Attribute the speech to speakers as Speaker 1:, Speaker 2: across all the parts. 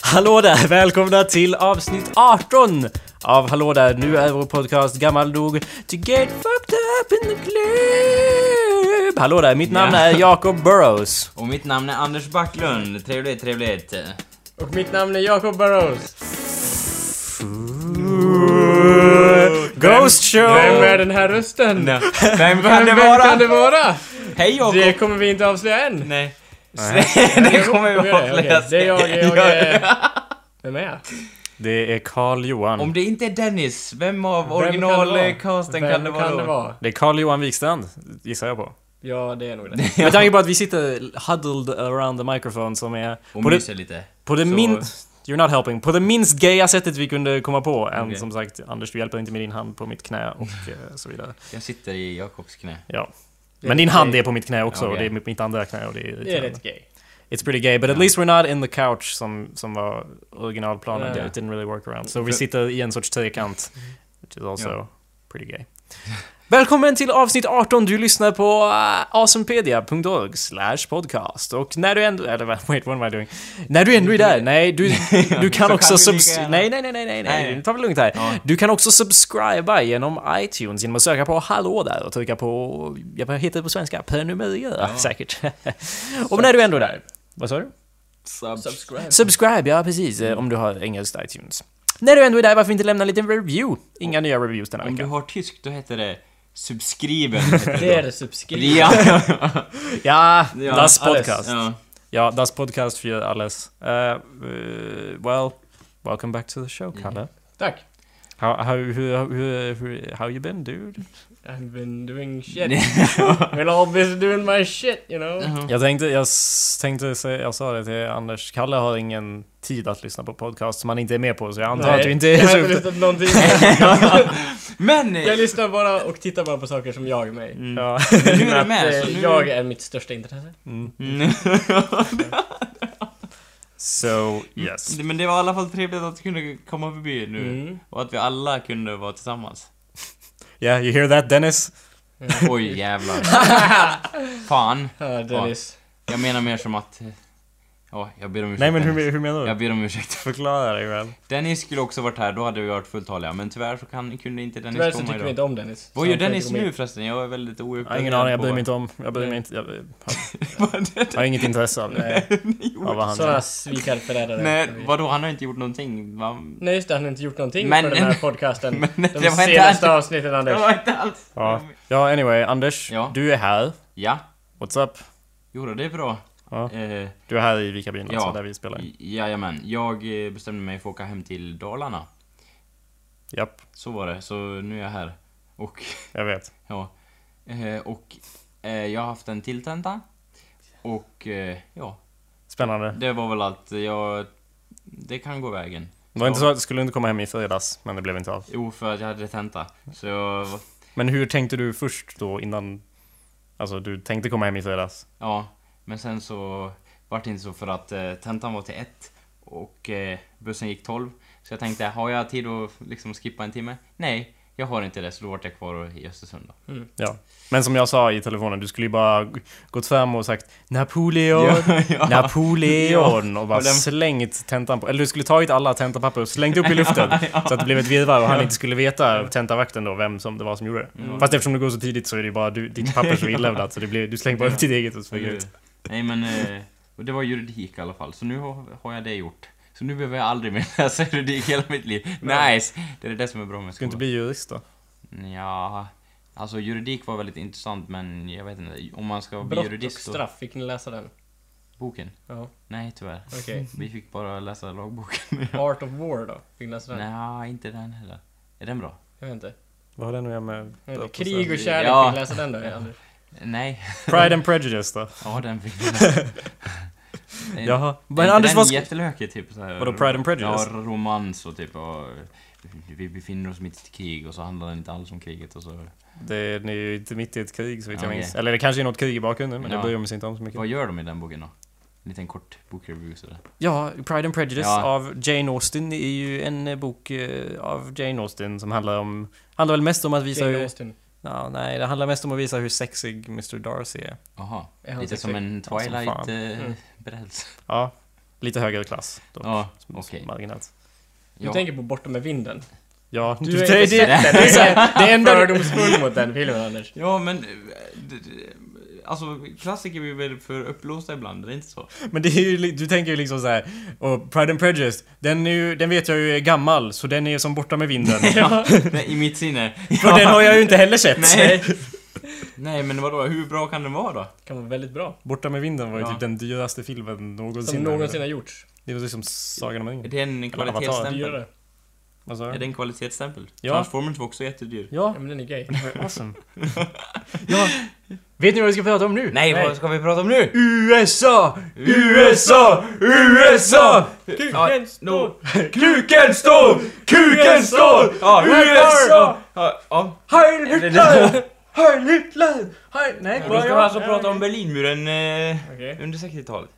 Speaker 1: Hallå där! Välkomna till avsnitt 18 av Hallå där! Nu är vår podcast Gammal nog to get fucked up in the club! Hallå där! Mitt namn
Speaker 2: Ja.
Speaker 1: är Jacob Burrows.
Speaker 2: Och mitt namn är Anders Backlund. Trevligt, trevligt.
Speaker 3: Och mitt namn är Jacob Burrows.
Speaker 1: Ghost show!
Speaker 3: Vem är den här rösten? Vem,
Speaker 2: Vem kan
Speaker 3: vem
Speaker 2: det vara?
Speaker 3: kan det vara?
Speaker 2: Hej Jakob!
Speaker 3: Det kommer vi inte avslöja än.
Speaker 2: Nej. det kommer vi
Speaker 3: Okej,
Speaker 2: att
Speaker 3: okej.
Speaker 2: avslöja
Speaker 3: Det är jag, jag,
Speaker 2: Ja,
Speaker 3: jag
Speaker 2: ja.
Speaker 3: Vem är jag?
Speaker 1: Det är Carl
Speaker 2: Om
Speaker 1: Johan.
Speaker 2: det inte är Dennis, vem av
Speaker 3: Vem kan det vara?
Speaker 2: originalcasten
Speaker 3: Vem
Speaker 2: kan det
Speaker 3: Kan det
Speaker 2: vara?
Speaker 3: vara?
Speaker 1: Det är Carl Johan Wikstrand, gissar jag på.
Speaker 3: Ja, det är nog det.
Speaker 1: Med tanke på att vi sitter huddled around the microphone som är...
Speaker 2: Och
Speaker 1: på det-
Speaker 2: myser lite.
Speaker 1: På det
Speaker 2: Så-
Speaker 1: minst... You're not helping. På det minst gaya sättet vi kunde komma på. Än
Speaker 2: Okej.
Speaker 1: som sagt, Anders du hjälper inte med din hand på mitt knä och eh, så vidare.
Speaker 2: Jag sitter i Jakobs knä.
Speaker 1: Ja.
Speaker 3: Det är
Speaker 1: Men din
Speaker 3: lite
Speaker 1: hand
Speaker 3: gay.
Speaker 1: är på mitt knä också och det
Speaker 2: Okej.
Speaker 1: är mitt andra knä och det är
Speaker 3: Det är
Speaker 1: irriterande.
Speaker 3: rätt gay.
Speaker 1: It's pretty gay, but at
Speaker 2: Ja.
Speaker 1: least we're not in the couch som, som var originalplanen.
Speaker 3: Ja.
Speaker 1: It didn't really work around. Så vi
Speaker 3: För-
Speaker 1: sitter i en sorts trekant, which is also pretty gay. Välkommen till avsnitt 18, du lyssnar på uh, awesomepedia.org slash podcast. Och när du ändå... Eller va- wait, what am I doing? När du ändå är där, nej, du, du kan
Speaker 2: Så
Speaker 1: också...
Speaker 2: kan vi lika
Speaker 1: subs-
Speaker 2: gärna.
Speaker 1: nej, nej, nej, nej, nej, nej,
Speaker 2: Nej.
Speaker 1: nu tar vi det lugnt här.
Speaker 2: Ja.
Speaker 1: Du kan också subscriba genom iTunes genom att söka på Hallå där och trycka på, jag heter det på svenska, prenumerera
Speaker 2: Ja.
Speaker 1: säkert. och när du ändå är där, vad sa du?
Speaker 2: Subscribe.
Speaker 1: Subscribe, ja precis, eh, om du har engelskt iTunes. När du ändå är där, varför inte lämna en liten review? Inga nya reviews denna
Speaker 2: Om du
Speaker 1: vecka.
Speaker 2: har tysk, då heter det subskriben.
Speaker 3: Det är det subscribe.
Speaker 2: Ja.
Speaker 1: Ja,
Speaker 2: Ja,
Speaker 1: Das
Speaker 3: alles,
Speaker 1: Podcast.
Speaker 2: ja.
Speaker 1: Ja, Das Podcast för alles. Eh, eh, well, welcome back to the show, Kalle.
Speaker 2: Mm.
Speaker 3: Tack.
Speaker 1: How, how, how, how, how, how you been, dude?
Speaker 3: I've been doing shit. We're all busy doing my shit, you know.
Speaker 1: Jag tänkte, jag s- tänkte säga, jag sa det till Anders, Kalle har ingen tid att lyssna på podcast som han inte är med på, så jag antar att du inte
Speaker 3: jag
Speaker 1: är
Speaker 3: har
Speaker 1: så
Speaker 3: inte
Speaker 1: ute.
Speaker 3: lyssnat på någonting.
Speaker 2: Men!
Speaker 3: Jag lyssnar bara och tittar bara på saker som jag är med i.
Speaker 1: Ja.
Speaker 2: Nu Mm. är
Speaker 3: För
Speaker 2: du
Speaker 3: att,
Speaker 2: med, alltså?
Speaker 3: eh,
Speaker 2: så nu...
Speaker 3: Jag är mitt största intresse.
Speaker 1: Mm.
Speaker 2: Mm.
Speaker 1: So, yes.
Speaker 2: Men det var i alla fall trevligt att du kunde komma förbi nu.
Speaker 3: Mm.
Speaker 2: Och att vi alla kunde vara tillsammans.
Speaker 1: Yeah, you hear that Dennis?
Speaker 2: Oj jävlar. Fan.
Speaker 3: Ja, Dennis.
Speaker 2: Jag menar mer som att... Ja, jag ber om ursäkt.
Speaker 1: Nej men
Speaker 2: Dennis.
Speaker 1: hur, hur menar du?
Speaker 2: Jag ber om ursäkt.
Speaker 1: Förklara dig väl.
Speaker 2: Dennis skulle också varit här, då hade vi varit fulltaliga. Men tyvärr så kan, kunde inte Dennis
Speaker 3: Tyvärr så
Speaker 2: komma
Speaker 3: tycker vi
Speaker 2: idag.
Speaker 3: inte om Dennis.
Speaker 2: Vad
Speaker 3: Så
Speaker 2: gör
Speaker 3: han kan
Speaker 2: Dennis
Speaker 3: inte gå med.
Speaker 2: nu förresten? Jag är väldigt
Speaker 1: Jag har
Speaker 2: ouppdaterad
Speaker 1: ingen aning, jag bryr
Speaker 2: på-
Speaker 1: mig inte om. Jag bryr mig inte. Jag
Speaker 2: Vad är det?
Speaker 1: har inget intresse av det.
Speaker 3: Nej,
Speaker 1: Av vad han
Speaker 3: sådana
Speaker 1: gör.
Speaker 3: svikarförrädare.
Speaker 2: Nej, vadå? Han har inte gjort någonting. Man...
Speaker 3: Nej just det, han har inte gjort någonting
Speaker 2: Men-
Speaker 3: för den här podcasten.
Speaker 2: Men det
Speaker 3: De
Speaker 2: var inte
Speaker 3: senaste
Speaker 2: alls...
Speaker 3: avsnitten
Speaker 2: Det
Speaker 3: Anders.
Speaker 2: var inte alls...
Speaker 1: Ja. ja, anyway, Anders.
Speaker 2: Ja.
Speaker 1: Du är här.
Speaker 2: Ja.
Speaker 1: What's up?
Speaker 2: Jo, då, det är bra.
Speaker 1: Ja.
Speaker 2: Eh,
Speaker 1: Du är här i Vikarbyn, alltså
Speaker 2: Ja.
Speaker 1: där vi spelar in.
Speaker 2: jajamän. Jag eh, bestämde mig för att åka hem till Dalarna.
Speaker 1: Japp,
Speaker 2: Så var det, så nu är jag här. Och,
Speaker 1: jag vet.
Speaker 2: ja. Eh, och eh, jag har haft en till tenta. Och, eh, ja.
Speaker 1: Spännande.
Speaker 2: Det var väl allt. Jag... Det kan gå vägen.
Speaker 1: Det var inte så att du skulle inte komma hem i fredags, men det blev inte av.
Speaker 2: Jo, för att jag hade tenta. Så jag...
Speaker 1: Men hur tänkte du först då innan... Alltså du tänkte komma hem i fredags?
Speaker 2: Ja. Men sen så vart det inte så för att eh, tentan var till ett. Och eh, bussen gick 12. Så jag tänkte, har jag tid att liksom skippa en timme? Nej, jag har inte det. Så då vart jag kvar och- i Östersund då.
Speaker 1: Ja. Men som jag sa i telefonen, du skulle ju bara g- gått fram och sagt Napoleon,
Speaker 2: Ja, ja.
Speaker 1: Napoleon och bara
Speaker 2: Och den-
Speaker 1: slängt tentan på... Eller du skulle tagit alla tentapapper och slängt upp i luften så att det blev ett virrvarr och han inte skulle veta, tentavakten då, vem som det var som gjorde det. Fast eftersom det går så tidigt så är det ju bara du, ditt papper som är inlämnat så det blir, du slänger bara upp ditt eget och så
Speaker 2: Men
Speaker 1: får du
Speaker 2: nu-
Speaker 1: ut.
Speaker 2: Nej men, eh, och det var juridik i alla fall, så nu har, har jag det gjort. Så nu behöver jag aldrig mer läsa juridik hela mitt liv. Nice! Det är det som är bra med
Speaker 1: Ska du inte
Speaker 2: skolan.
Speaker 1: bli jurist då?
Speaker 2: Ja, alltså juridik var väldigt intressant men jag vet inte, om man ska bli
Speaker 3: Brott och
Speaker 2: jurist då?
Speaker 3: straff, fick ni läsa den?
Speaker 2: Boken?
Speaker 3: Ja,
Speaker 2: Nej tyvärr.
Speaker 3: okej.
Speaker 2: Vi fick bara läsa lagboken.
Speaker 3: Art of War då? Fick ni läsa den?
Speaker 2: Nej, inte den heller. Är den bra?
Speaker 3: Jag vet inte.
Speaker 1: Vad har det nu att göra med...
Speaker 3: Jag vet inte. Krig och
Speaker 2: Ja.
Speaker 3: kärlek, fick ni läsa den då? Anders?
Speaker 2: Nej.
Speaker 1: Pride and prejudice då?
Speaker 2: Ja, den fick vi läsa. Är-
Speaker 1: Jaha.
Speaker 2: är
Speaker 1: Men
Speaker 2: inte
Speaker 1: Anders,
Speaker 2: den
Speaker 1: vad ska...
Speaker 2: jättelökig typ så här,
Speaker 1: Vadå, Pride and Prejudice?
Speaker 2: Ja, romans och typ och, Vi befinner oss mitt i ett krig och så handlar det inte alls om kriget och så
Speaker 1: Det är ni är ju inte mitt i ett krig så vitt jag
Speaker 2: Okej.
Speaker 1: minns. Eller det kanske är något krig i bakgrunden men det
Speaker 2: Ja.
Speaker 1: bryr man sig inte om så mycket.
Speaker 2: Vad gör de i den boken då? En liten kort bokreview sådär
Speaker 1: Ja, Pride and Prejudice
Speaker 2: Ja.
Speaker 1: av Jane Austen är ju en eh, bok eh, av Jane Austen som handlar om... Handlar väl mest om att visa
Speaker 3: Jane
Speaker 1: hur...
Speaker 3: Austen.
Speaker 1: Ja, nej, det handlar mest om att visa hur sexig Mr Darcy är.
Speaker 2: Jaha,
Speaker 3: Är han
Speaker 2: lite
Speaker 3: sexig?
Speaker 2: som en
Speaker 1: Ja, som fan.
Speaker 2: Twilight-berättelse
Speaker 3: Mm.
Speaker 2: eh, berättelse.
Speaker 1: Ja, Lite högre klass. Dock.
Speaker 2: Ja,
Speaker 1: Som- som
Speaker 2: okej.
Speaker 1: Marginellt.
Speaker 3: Du
Speaker 2: Ja.
Speaker 3: tänker på Borta med vinden.
Speaker 1: Ja,
Speaker 3: Du
Speaker 1: du,
Speaker 3: har
Speaker 1: det, det,
Speaker 3: inte
Speaker 1: det,
Speaker 3: sett den. Det är
Speaker 1: är
Speaker 3: så-
Speaker 1: det enda du-
Speaker 3: Fördomsfull mot den filmen, Anders.
Speaker 2: Ja, men... eh, d- d- Alltså, klassiker blir väl för uppblåsta ibland, det är inte så?
Speaker 1: Men det är ju, li- du tänker ju liksom så här. Och Pride and Prejudice, den, är ju, den vet jag ju är gammal, så den är ju som borta med vinden.
Speaker 2: Ja. Nej, I mitt sinne.
Speaker 1: För den har jag ju inte heller sett.
Speaker 2: Nej. Nej, men vadå? Hur bra kan den vara då?
Speaker 3: Kan vara väldigt bra.
Speaker 1: Borta med vinden var ju
Speaker 2: Ja.
Speaker 1: typ den dyraste filmen någonsin.
Speaker 3: Som någonsin har gjorts.
Speaker 1: Det var liksom Sagan om
Speaker 2: Är
Speaker 1: ringen.
Speaker 2: det en kvalitetsstämpel?
Speaker 3: Dyrare.
Speaker 1: Vad sa
Speaker 2: Är det
Speaker 1: du?
Speaker 2: en kvalitetsstämpel?
Speaker 1: Ja.
Speaker 2: Transformers var också jättedyr.
Speaker 1: Ja,
Speaker 3: Ja men den är gay.
Speaker 1: det var awesome. ja. Vet ni vad vi ska prata om nu?
Speaker 2: Nej, vad ska vi prata om nu?
Speaker 1: USA! USA! USA!
Speaker 2: Ja, no.
Speaker 1: Kuken står! Kuken står!
Speaker 2: Ja,
Speaker 1: USA!
Speaker 2: Ja, ja.
Speaker 1: Heil
Speaker 2: Hitler!
Speaker 1: Heil Hitler! Heil... Nej,
Speaker 2: Och Då ska vi alltså prata om Berlinmuren eh,
Speaker 3: Okej.
Speaker 2: under 60-talet.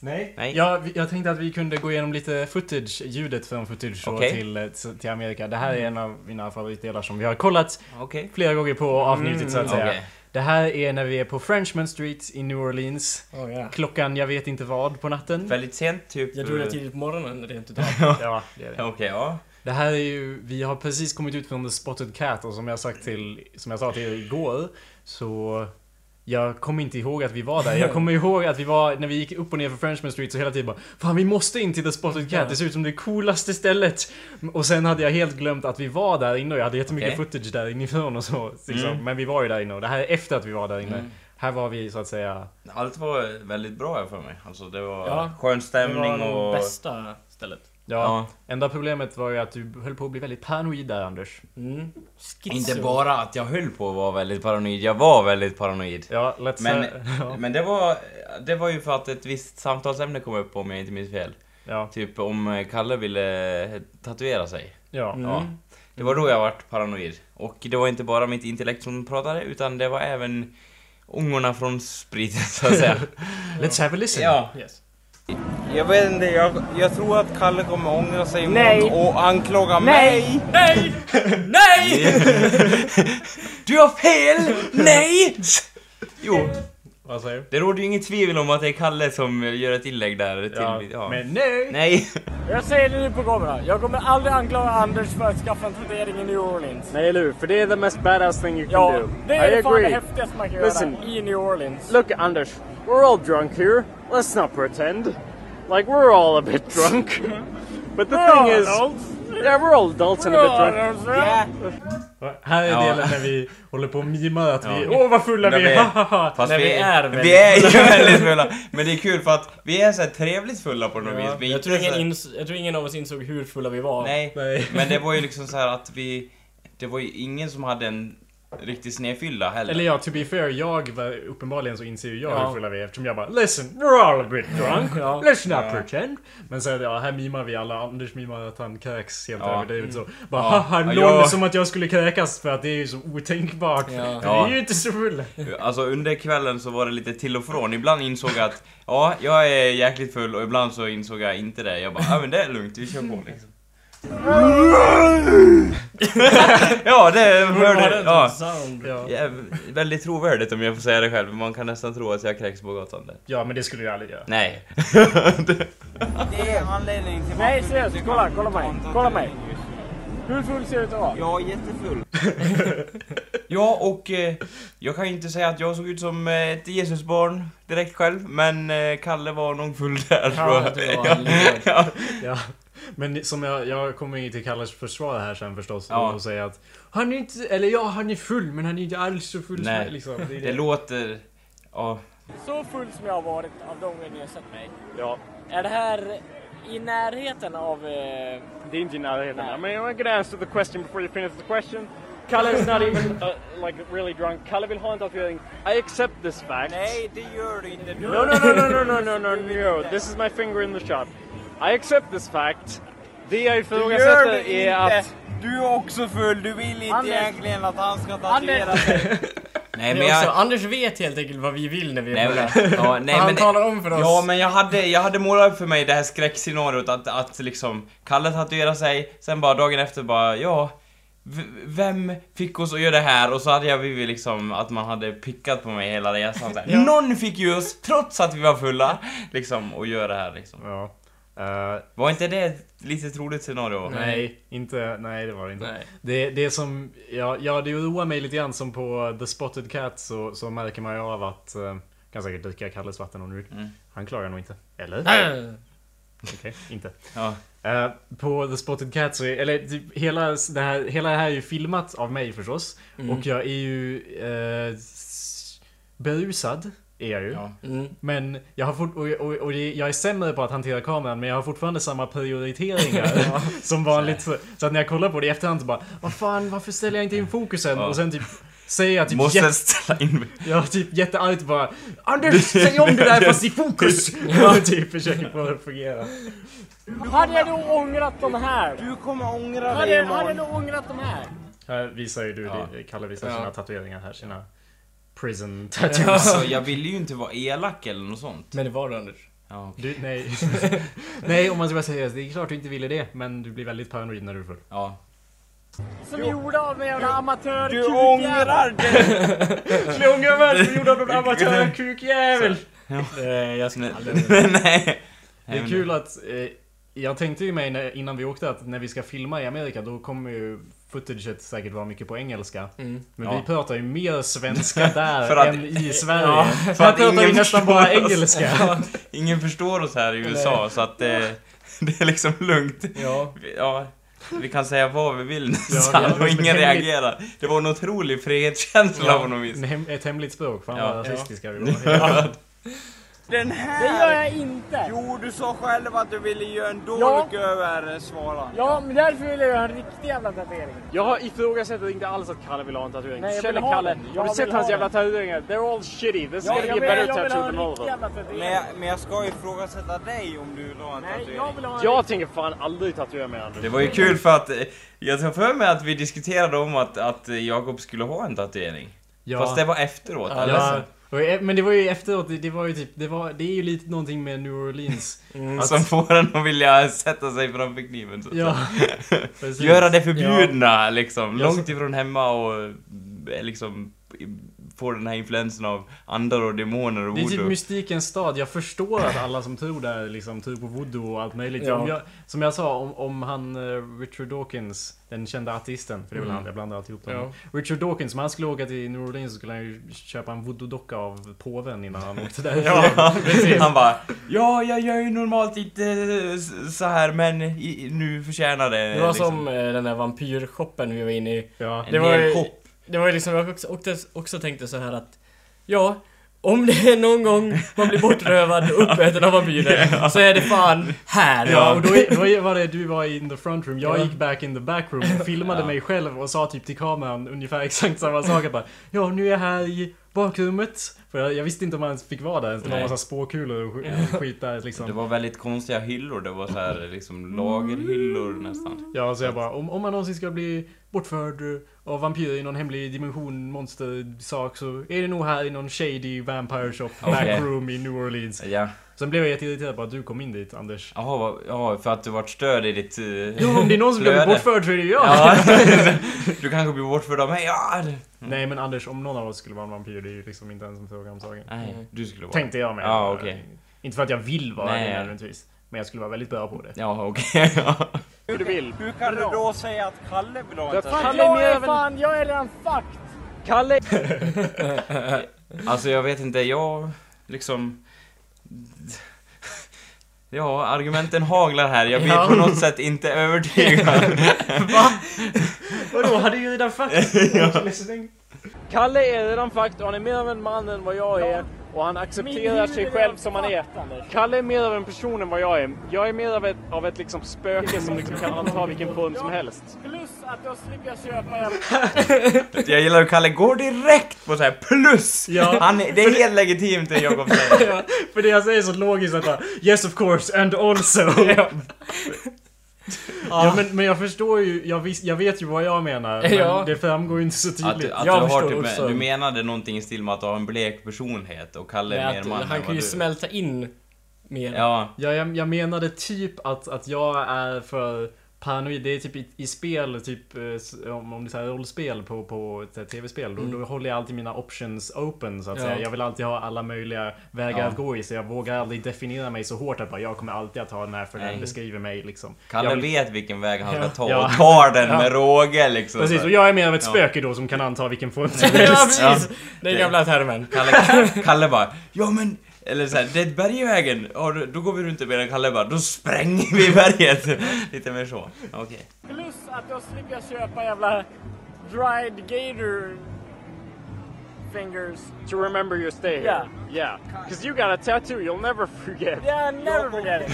Speaker 1: Nej.
Speaker 2: Nej.
Speaker 1: Ja, vi- jag tänkte att vi kunde gå igenom lite footage, ljudet från footage då
Speaker 2: Okej.
Speaker 1: till, eh, s- till Amerika. Det här är en av mina favoritdelar som vi har kollat
Speaker 2: Okej.
Speaker 1: flera gånger på och avnjutit så att
Speaker 3: Mm,
Speaker 1: säga.
Speaker 2: Okej.
Speaker 1: Det här är när vi är på Frenchman Street i New Orleans.
Speaker 3: Oh, ja.
Speaker 1: Klockan jag vet inte vad på natten.
Speaker 2: Väldigt sent, typ...
Speaker 3: Jag tror det är tidigt på morgonen rent utav.
Speaker 1: Ja, det är det.
Speaker 2: eh, Okej, ja.
Speaker 1: Det här är ju, vi har precis kommit ut från The Spotted Cat och som jag sagt till, som jag sa till er igår så jag kommer inte ihåg att vi var där. Jag kommer ihåg att vi var, när vi gick upp och ner för Frenchman Street så hela tiden bara Fan vi måste in till The Spotted Cat, det ser ut som det coolaste stället. Och sen hade jag helt glömt att vi var där inne och jag hade jättemycket
Speaker 2: Okej.
Speaker 1: footage där inifrån och så. Liksom.
Speaker 2: Mm.
Speaker 1: Men vi var ju där inne och det här är efter att vi var där inne.
Speaker 2: Mm.
Speaker 1: Här var vi så att säga,
Speaker 2: Allt var väldigt bra här för mig. Alltså det var
Speaker 3: Ja.
Speaker 2: skön
Speaker 3: Det var
Speaker 2: stämning
Speaker 3: nog
Speaker 2: och...
Speaker 3: bästa stället.
Speaker 1: ja. Enda problemet var ju att du höll på att bli väldigt paranoid där Anders.
Speaker 3: Mm. Schizo.
Speaker 2: Inte bara att jag höll på att vara väldigt paranoid, jag var väldigt paranoid.
Speaker 1: Ja, let's
Speaker 2: Men,
Speaker 1: ja.
Speaker 2: men det, var, det var ju för att ett visst samtalsämne kom upp om jag inte minns fel.
Speaker 1: ja,
Speaker 2: Typ om Kalle ville tatuera sig.
Speaker 1: ja.
Speaker 3: Mm.
Speaker 2: Ja. Det var då jag vart paranoid. Och det var inte bara mitt intellekt som pratade, utan det var även ångorna från spriten så att säga.
Speaker 1: Let's have a listen.
Speaker 2: ja.
Speaker 3: Yes.
Speaker 4: Jag vet inte, jag, jag tror att Kalle kommer ångra sig imorgon och anklaga mig.
Speaker 3: Nej! Nej!
Speaker 2: Du har fel! Nej! Jo,
Speaker 1: Vad säger du?
Speaker 2: det råder ju inget tvivel om att det är Kalle som gör ett inlägg där. Till, ja,
Speaker 1: Men nej!
Speaker 2: Nej!
Speaker 5: Jag säger det nu på kamera. Jag kommer aldrig anklaga Anders för att skaffa en tatuering i New Orleans.
Speaker 6: Nej, Lou, för det är the most badass thing you can
Speaker 5: Ja,
Speaker 6: do.
Speaker 5: det
Speaker 6: I
Speaker 5: är fan det
Speaker 6: agree.
Speaker 5: häftigaste man kan
Speaker 6: Listen.
Speaker 5: göra i New Orleans.
Speaker 6: Look, Anders, we're all drunk here. Let's not pretend. Like, we're all a bit drunk. but the thing
Speaker 5: all
Speaker 6: is...
Speaker 5: adults.
Speaker 6: Yeah, we're all adults and a bit drunk.
Speaker 1: Här är
Speaker 2: Ja.
Speaker 1: delen när vi håller på och mimar att vi...
Speaker 2: Ja.
Speaker 1: Åh vad fulla
Speaker 2: När
Speaker 1: vi
Speaker 2: vi-
Speaker 1: är! hahaha."
Speaker 2: Fast
Speaker 3: Nej, vi är väldigt
Speaker 2: vi är ju väldigt fulla. Men det är kul för att vi är så här trevligt fulla på något vis. Vi är
Speaker 3: Jag, tror
Speaker 2: inte
Speaker 3: ingen
Speaker 2: så här-
Speaker 3: ins- jag tror ingen av oss insåg hur fulla vi var.
Speaker 2: Nej.
Speaker 1: Nej.
Speaker 2: Men det var ju liksom så här att vi... Det var ju ingen som hade en riktig snedfylla heller.
Speaker 1: Eller ja, to be fair, jag var, uppenbarligen så inser ju jag
Speaker 3: Ja.
Speaker 1: hur fulla vi är eftersom jag bara Listen, we're all a bit drunk.
Speaker 3: Ja.
Speaker 1: Let's not
Speaker 2: Ja.
Speaker 1: pretend. Men sen, ja, här mimar vi alla. Anders mimar att han kräks helt
Speaker 2: Ja.
Speaker 1: överdrivet så. Bara
Speaker 2: Ja.
Speaker 1: haha,
Speaker 2: Ja,
Speaker 1: lol,
Speaker 2: jag-
Speaker 1: som att jag skulle kräkas för att det är ju så otänkbart.
Speaker 3: Ja.
Speaker 1: Vi är ju inte så fulla.
Speaker 2: Alltså under kvällen så var det lite till och från. Ibland insåg jag att ja, jag är jäkligt full och ibland så insåg jag inte det. Jag bara, ja men det är lugnt, vi kör på liksom. ja, det
Speaker 3: Var
Speaker 2: hörde
Speaker 3: det
Speaker 2: ja.
Speaker 3: ja. sound?
Speaker 1: Ja.
Speaker 2: Ja, Väldigt trovärdigt om jag får säga det själv. Man kan nästan tro att jag kräks på gatan där.
Speaker 1: ja, men det skulle jag aldrig göra.
Speaker 2: Nej.
Speaker 4: Det är anledningen till
Speaker 5: Nej,
Speaker 4: varför
Speaker 5: seriöst.
Speaker 4: du inte
Speaker 5: Kolla,
Speaker 4: kan
Speaker 5: kolla
Speaker 4: ta
Speaker 5: mig.
Speaker 4: en tatuering
Speaker 5: Kolla mig.
Speaker 4: just nu.
Speaker 5: Hur full ser du ut att vara?
Speaker 4: Jag är jättefull.
Speaker 2: Ja, och eh, jag kan ju inte säga att jag såg ut som eh, ett Jesusbarn direkt själv, men eh, Kalle var nog full där tror
Speaker 3: Ja, jag
Speaker 2: jag.
Speaker 3: tror det var en liten-
Speaker 1: Ja, men som jag, jag kommer ju till Kalles försvar här sen förstås
Speaker 2: Ja.
Speaker 1: och säga att han är inte, eller ja han är full men han är inte alls så full
Speaker 2: Nej.
Speaker 1: som liksom. Det är
Speaker 2: Det
Speaker 1: det.
Speaker 2: låter... Ja.
Speaker 5: Så full som jag har varit av de gånger ni har sett mig.
Speaker 6: Ja,
Speaker 5: Är det här i närheten av... Eh...
Speaker 6: det är inte i närheten. I mean, I'm gonna answer the question before you finish the question. Kalle is not even, uh, like, really drunk. Kalle vill ha en tatuering. I accept this fact.
Speaker 4: Nej, det gör du inte. Du
Speaker 6: No, no, no, no, no, no, no, no, no. This is my finger in the shop. I accept this fact. Det jag
Speaker 4: gör du
Speaker 6: ifrågasätter är
Speaker 4: inte.
Speaker 6: att...
Speaker 4: Du är också full. Du vill inte
Speaker 5: Anders.
Speaker 4: egentligen att han ska tatuera sig.
Speaker 2: Nej
Speaker 3: Det
Speaker 2: men
Speaker 3: är också,
Speaker 2: jag...
Speaker 3: Anders vet helt enkelt vad vi vill när vi är
Speaker 2: Nej,
Speaker 3: fulla.
Speaker 2: men, ja, nej,
Speaker 3: Han
Speaker 2: men,
Speaker 3: talar om för oss.
Speaker 2: Ja men jag hade, jag hade målat upp för mig det här skräckscenariot att, att liksom Kalle tatuerar sig, sen bara dagen efter bara ja v- vem fick oss att göra det här? Och så hade jag blivit liksom att man hade pickat på mig hela resan så här. Någon fick ju oss, trots att vi var fulla, liksom att göra det här liksom.
Speaker 1: Ja. Eh,
Speaker 2: Var inte det ett lite troligt scenario?
Speaker 1: nej, inte, nej det var det inte.
Speaker 2: Nej.
Speaker 1: Det, det som, ja, ja det oroar mig lite grann som på The Spotted Cat så, så märker man ju av att, eh, kan säkert dyka i Kalles vatten om du vill. Han klagar nog inte. Eller? Okej, inte.
Speaker 2: Ja.
Speaker 1: Eh, på The Spotted Cat så är, eller typ, hela det här, hela det här är ju filmat av mig förstås. Och jag är ju eh, s- berusad, är jag ju.
Speaker 2: Ja.
Speaker 3: Mm.
Speaker 1: Men jag har fort, och, och, och det- jag är sämre på att hantera kameran men jag har fortfarande samma prioriteringar som vanligt. Så, så att när jag kollar på det i efterhand så bara Vad fan varför ställer jag inte in fokusen?
Speaker 2: Ja.
Speaker 1: Och sen typ säger jag typ,
Speaker 2: Måste
Speaker 1: jätte,
Speaker 2: ställa in mig.
Speaker 1: jag har typ jätteargt bara Anders säg om det där fast i fokus! Och typ försöker få det att fungera.
Speaker 7: Hade jag då ångrat de här?
Speaker 8: Du kommer ångra
Speaker 7: Hade
Speaker 8: dig
Speaker 7: jag, hade jag
Speaker 8: imorgon.
Speaker 7: då ångrat de här?
Speaker 1: Här visar ju du, det, Kalle visar
Speaker 2: Ja.
Speaker 1: sina tatueringar här, sina prison tattoos.
Speaker 2: Alltså, jag ville ju inte vara elak eller något sånt.
Speaker 3: Men det var det Anders.
Speaker 2: Ja, okej.
Speaker 1: Du, nej. nej, om man ska vara seriös, det är klart du inte ville det, men du blir väldigt paranoid när du är full.
Speaker 2: ja.
Speaker 7: Som gjorde av mig jävla amatör
Speaker 8: Du ångrar dig.
Speaker 1: Amatörkukjävel! Eh,
Speaker 2: Jag skulle aldrig... Nej.
Speaker 1: Alltså, Det
Speaker 2: Nej,
Speaker 1: är
Speaker 2: men-
Speaker 1: kul att... Eh, jag tänkte ju mig när, innan vi åkte att när vi ska filma i Amerika då kommer ju footaget säkert vara mycket på engelska. Men
Speaker 2: Ja.
Speaker 1: vi pratar ju mer svenska där
Speaker 2: För att-
Speaker 1: än i Sverige.
Speaker 2: Ja,
Speaker 1: Här
Speaker 2: för att
Speaker 1: pratar vi
Speaker 2: ingen
Speaker 1: nästan bara
Speaker 2: förstår oss.
Speaker 1: engelska.
Speaker 2: Ja, ingen förstår oss här i USA, så att eh, det är liksom lugnt.
Speaker 3: Ja.
Speaker 2: Vi- Ja, vi kan säga vad vi vill
Speaker 1: Ja,
Speaker 2: nästan
Speaker 1: ja.
Speaker 2: och ingen
Speaker 1: Men-
Speaker 2: reagerar. Det var en otrolig frihetskänsla på något vis.
Speaker 1: En hem, ett hemligt språk, fan
Speaker 2: Ja.
Speaker 1: vad rasistiska vi var.
Speaker 8: Den här...
Speaker 7: Det gör jag inte.
Speaker 8: Jo, du sa själv att du ville göra en
Speaker 7: Ja.
Speaker 8: dolk över svalan.
Speaker 7: Ja, men därför vill jag göra en riktig jävla tatuering.
Speaker 6: Jag ifrågasätter inte alls att Kalle vill ha en tatuering.
Speaker 7: Nej, jag vill
Speaker 6: Känner
Speaker 7: ha
Speaker 6: Kalle?
Speaker 7: den. Jag
Speaker 6: Har du sett
Speaker 7: vill
Speaker 6: hans
Speaker 7: ha
Speaker 6: jävla
Speaker 7: den.
Speaker 6: tatueringar? They're all shitty. This is
Speaker 7: Ja,
Speaker 6: gonna be
Speaker 7: jag, vill,
Speaker 6: a better
Speaker 7: jag vill
Speaker 6: tattoo
Speaker 7: ha en
Speaker 6: than all of
Speaker 7: riktig
Speaker 6: them.
Speaker 7: jävla
Speaker 8: Men
Speaker 7: tatuering.
Speaker 8: jag, men jag ska ifrågasätta dig om du vill ha en
Speaker 7: Nej,
Speaker 8: tatuering.
Speaker 7: jag vill ha en
Speaker 6: Jag tänker fan aldrig tatuera mig Anders.
Speaker 2: Det var ju kul för att eh, jag tar för mig att vi diskuterade om att, att eh, Jakob skulle ha en tatuering.
Speaker 1: Ja.
Speaker 2: Fast det var efteråt. eller?
Speaker 1: Ja. Och, e- men det var ju efteråt, det, det var ju typ, det, var, det är ju lite någonting med New Orleans. Att-
Speaker 2: Som får en att vilja sätta sig framför kniven. Så. att säga.
Speaker 1: Ja, precis.
Speaker 2: Göra det förbjudna liksom,
Speaker 1: Ja,
Speaker 2: långt ifrån hemma och eh, liksom i- få den här influensen av andar och demoner och
Speaker 1: Det är typ
Speaker 2: voodoo.
Speaker 1: mystikens stad. Jag förstår att alla som tror där liksom tror på voodoo och allt möjligt.
Speaker 3: Ja.
Speaker 1: Om jag, som jag sa, om, om han eh, Richard Dawkins, den kända artisten, för det är
Speaker 2: Mm.
Speaker 1: väl han, jag blandar alltid ihop dem. Richard Dawkins, om han skulle åka till New Orleans så skulle han ju köpa en voodoo-docka av påven innan han åkte där.
Speaker 2: Ja, han bara Ja, jag gör ju normalt inte eh, s- så här men i, nu förtjänar det.
Speaker 3: Det var
Speaker 2: liksom.
Speaker 3: som eh, den där vampyrshoppen vi var inne i.
Speaker 1: Ja.
Speaker 2: En
Speaker 3: Det var,
Speaker 2: hel
Speaker 3: ju-
Speaker 2: kopp.
Speaker 3: det var ju liksom, jag också, också, också tänkte så här att Ja, om det är någon gång man blir bortrövad och uppäten av vampyrer så är det fan här!
Speaker 2: Ja.
Speaker 1: Ja, och då, är- då är- var det du var in the front room, jag
Speaker 3: Ja.
Speaker 1: gick back in the back room, filmade
Speaker 2: Ja.
Speaker 1: mig själv och sa typ till kameran ungefär exakt samma sak. Jag bara, ja nu är jag här i bakrummet. För jag, jag visste inte om man ens fick vara där, det var en
Speaker 2: Nej.
Speaker 1: massa spåkulor och sk- skit där
Speaker 2: Det
Speaker 1: liksom.
Speaker 2: var väldigt konstiga hyllor, det var så här liksom lagerhyllor nästan.
Speaker 1: Ja, så jag bara, om, om man någonsin ska bli bortförd av vampyrer i någon hemlig dimension, monstersak så är det nog här i någon shady vampire shop
Speaker 2: Okej.
Speaker 1: backroom i New Orleans.
Speaker 2: Ja,
Speaker 1: Sen blev jag jätteirriterad på att du kom in dit Anders.
Speaker 2: jaha, vad- ja, för att du vart störd i ditt... eh,
Speaker 1: Jo, om det är någon som
Speaker 2: flöde.
Speaker 1: blir bortförd så är det jag!
Speaker 2: Ja, du kanske blir bortförd av mig. Ja, det-
Speaker 1: Nej men Anders, om någon av oss skulle vara en vampyr, det är ju liksom inte ens en fråga om saken.
Speaker 2: Nej, du skulle vara.
Speaker 1: Tänkte jag med.
Speaker 2: Ja, okej.
Speaker 1: Inte för att jag vill vara
Speaker 2: Nej.
Speaker 1: det nödvändigtvis. Men jag skulle vara väldigt bra på det.
Speaker 2: Ja, okej. ja.
Speaker 6: Hur du vill.
Speaker 8: Hur kan du då säga att Kalle vill ha en
Speaker 6: fan-
Speaker 8: tatuering?
Speaker 7: Fan,
Speaker 6: Kalle är mer av
Speaker 7: jag är
Speaker 6: en-
Speaker 7: fan, jag är redan fucked.
Speaker 6: Kalle!
Speaker 2: Alltså jag vet inte, jag liksom... Ja, argumenten haglar här. Jag blir på något sätt inte övertygad.
Speaker 1: Vadå, hade ju redan fucking
Speaker 6: Kalle är redan fucked och han är mer av en man än vad jag är. Och han accepterar
Speaker 7: huvud
Speaker 6: sig
Speaker 7: är
Speaker 6: själv som han är.
Speaker 7: fucked, Anders.
Speaker 6: Kalle är mer av en person än vad jag är. Jag är mer av ett, av ett liksom spöke som liksom kan anta vilken form som helst.
Speaker 7: Plus att jag slipper köpa jävla...
Speaker 2: Jag gillar hur Kalle går direkt på så här plus!
Speaker 1: Ja.
Speaker 2: Han, är- det är helt legitimt det Jakob säger.
Speaker 1: För det jag säger är så logiskt att bara, Yes of course and also. ja. men, men jag förstår ju, jag, vis, jag vet ju vad jag menar. Men
Speaker 3: Ja.
Speaker 1: det framgår ju inte så
Speaker 2: Att,
Speaker 1: tydligt.
Speaker 2: att du,
Speaker 3: Jag
Speaker 2: har
Speaker 3: förstår
Speaker 2: typ,
Speaker 3: också.
Speaker 2: du menade någonting i stil med att du har en blek personlighet och Kalle är
Speaker 3: Nej,
Speaker 2: mer
Speaker 3: att,
Speaker 2: man
Speaker 3: han
Speaker 2: än
Speaker 3: kan
Speaker 2: vad
Speaker 3: ju
Speaker 2: du
Speaker 3: smälta in mer.
Speaker 2: Ja,
Speaker 1: Ja, jag, jag menade typ att, att jag är för paranoid. Det är typ i, i spel, typ eh, s- om, om det är så här rollspel på, på ett så här tv-spel. Då,
Speaker 2: Mm.
Speaker 1: då håller jag alltid mina options open så att
Speaker 3: Ja.
Speaker 1: säga. Jag vill alltid ha alla möjliga vägar
Speaker 2: Ja.
Speaker 1: att gå i. Så jag vågar aldrig definiera mig så hårt att bara, jag kommer alltid att ha den här för den
Speaker 2: Nej.
Speaker 1: beskriver mig liksom.
Speaker 2: Kalle
Speaker 1: Jag vill-
Speaker 2: vet vilken väg han ska
Speaker 1: Ja.
Speaker 2: ta
Speaker 1: Ja.
Speaker 2: och tar den
Speaker 1: Ja.
Speaker 2: med råge liksom.
Speaker 1: Precis,
Speaker 2: Så-
Speaker 1: och jag är mer av ett
Speaker 2: Ja.
Speaker 1: spöke då som kan anta vilken form som
Speaker 3: ja,
Speaker 1: helst.
Speaker 3: precis!
Speaker 2: Ja.
Speaker 3: Det är gamla termen.
Speaker 2: Kalle, Kalle bara Ja men Eller såhär Det är bergvägen ja, då- Då går vi runt i bergen Kalle bara Då spränger vi berget Lite mer så Okej
Speaker 7: Plus att jag lyckas köpa jävla dried gator fingers.
Speaker 6: To remember your stay here.
Speaker 7: Yeah.
Speaker 6: Yeah. Because you got a tattoo you'll never forget.
Speaker 7: Yeah, never forget it.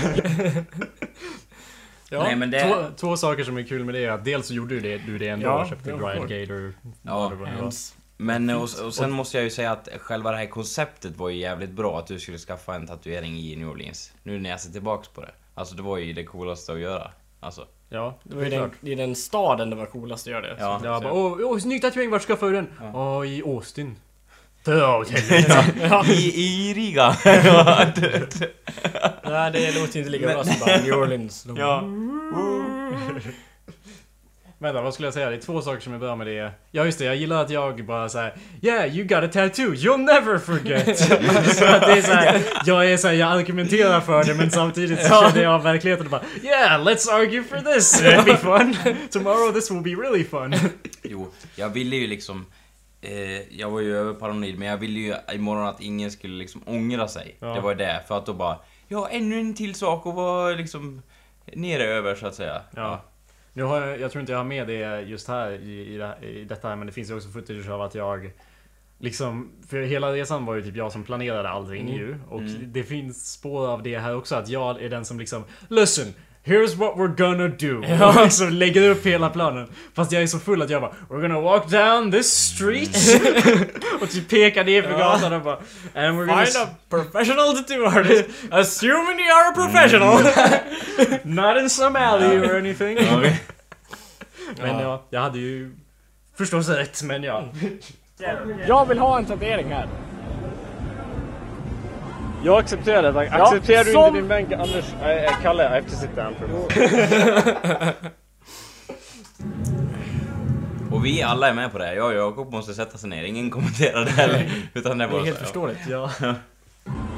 Speaker 3: Ja.
Speaker 2: Nej men
Speaker 1: Två,
Speaker 2: det
Speaker 1: två saker som är kul med det är att dels så gjorde du det, du det ändå
Speaker 3: Ja,
Speaker 1: och köpte
Speaker 3: ja,
Speaker 1: Dried
Speaker 3: klart.
Speaker 1: Gator.
Speaker 2: Ja
Speaker 1: eller vad det var.
Speaker 2: Men eh, och, och sen måste jag ju säga att själva det här konceptet var ju jävligt bra Att du skulle skaffa en tatuering i New Orleans Nu när jag ser tillbaks på det Alltså det var ju det coolaste att göra Alltså
Speaker 1: Ja,
Speaker 3: Det var ju den, i den staden det var coolast att göra det.
Speaker 2: Ja,
Speaker 1: Ja,
Speaker 2: så-
Speaker 1: bara, åh, åh, snygg tatuering, vart ska jag få den? Ja, i Austin. Dra åt helvete.
Speaker 2: I, I Riga
Speaker 3: Nej, det låter inte lika bra som bara New Orleans.
Speaker 2: Ja
Speaker 1: Vänta, vad skulle jag säga? Det är två saker som är bra med det. Ja, just det, jag gillar att jag bara såhär Yeah, you got a tattoo, you'll never forget! så att det är såhär, jag är såhär, jag argumenterar för det men samtidigt så känner jag av verkligheten och bara Yeah, let's argue for this! It'll be fun! Tomorrow this will be really fun!
Speaker 2: Jo, jag ville ju liksom eh, Jag var ju överparanoid men jag ville ju imorgon att ingen skulle liksom ångra sig
Speaker 1: Ja.
Speaker 2: Det var ju det, för att då bara Ja, ännu en till sak och var liksom Nere över så att säga
Speaker 1: Ja. Nu har jag, jag tror inte jag har med det just här i, i, det, här- i detta här men det finns ju också footage av att jag Liksom, för hela resan var ju typ jag som planerade allting
Speaker 3: Mm.
Speaker 1: ju och det finns spår av det här också att jag är den som liksom Listen! Here's what we're gonna do! Och liksom lägger upp hela planen. Fast jag är så full att jag bara We're gonna walk down this street! och typ pekar ner för gatan och bara And we're gonna...
Speaker 3: Find a professional tattoo artist, assuming they are a professional!
Speaker 1: Not in some alley or anything!
Speaker 2: okej.
Speaker 1: Men ja, jag hade ju förstås rätt men ja.
Speaker 7: Jag vill ha en tatuering här.
Speaker 6: Jag accepterar det. tack.
Speaker 7: Ja,
Speaker 6: Accepterar du
Speaker 7: som-
Speaker 6: inte din bänk Anders? Nej, eh, Kalle, I have to sit down for a moment.
Speaker 2: Och vi alla är med på det här. Jag och Jakob måste sätta sig ner, ingen kommenterar det heller Utan det är
Speaker 3: Det är
Speaker 2: bara
Speaker 3: helt
Speaker 2: så,
Speaker 3: förståeligt.
Speaker 1: Ja.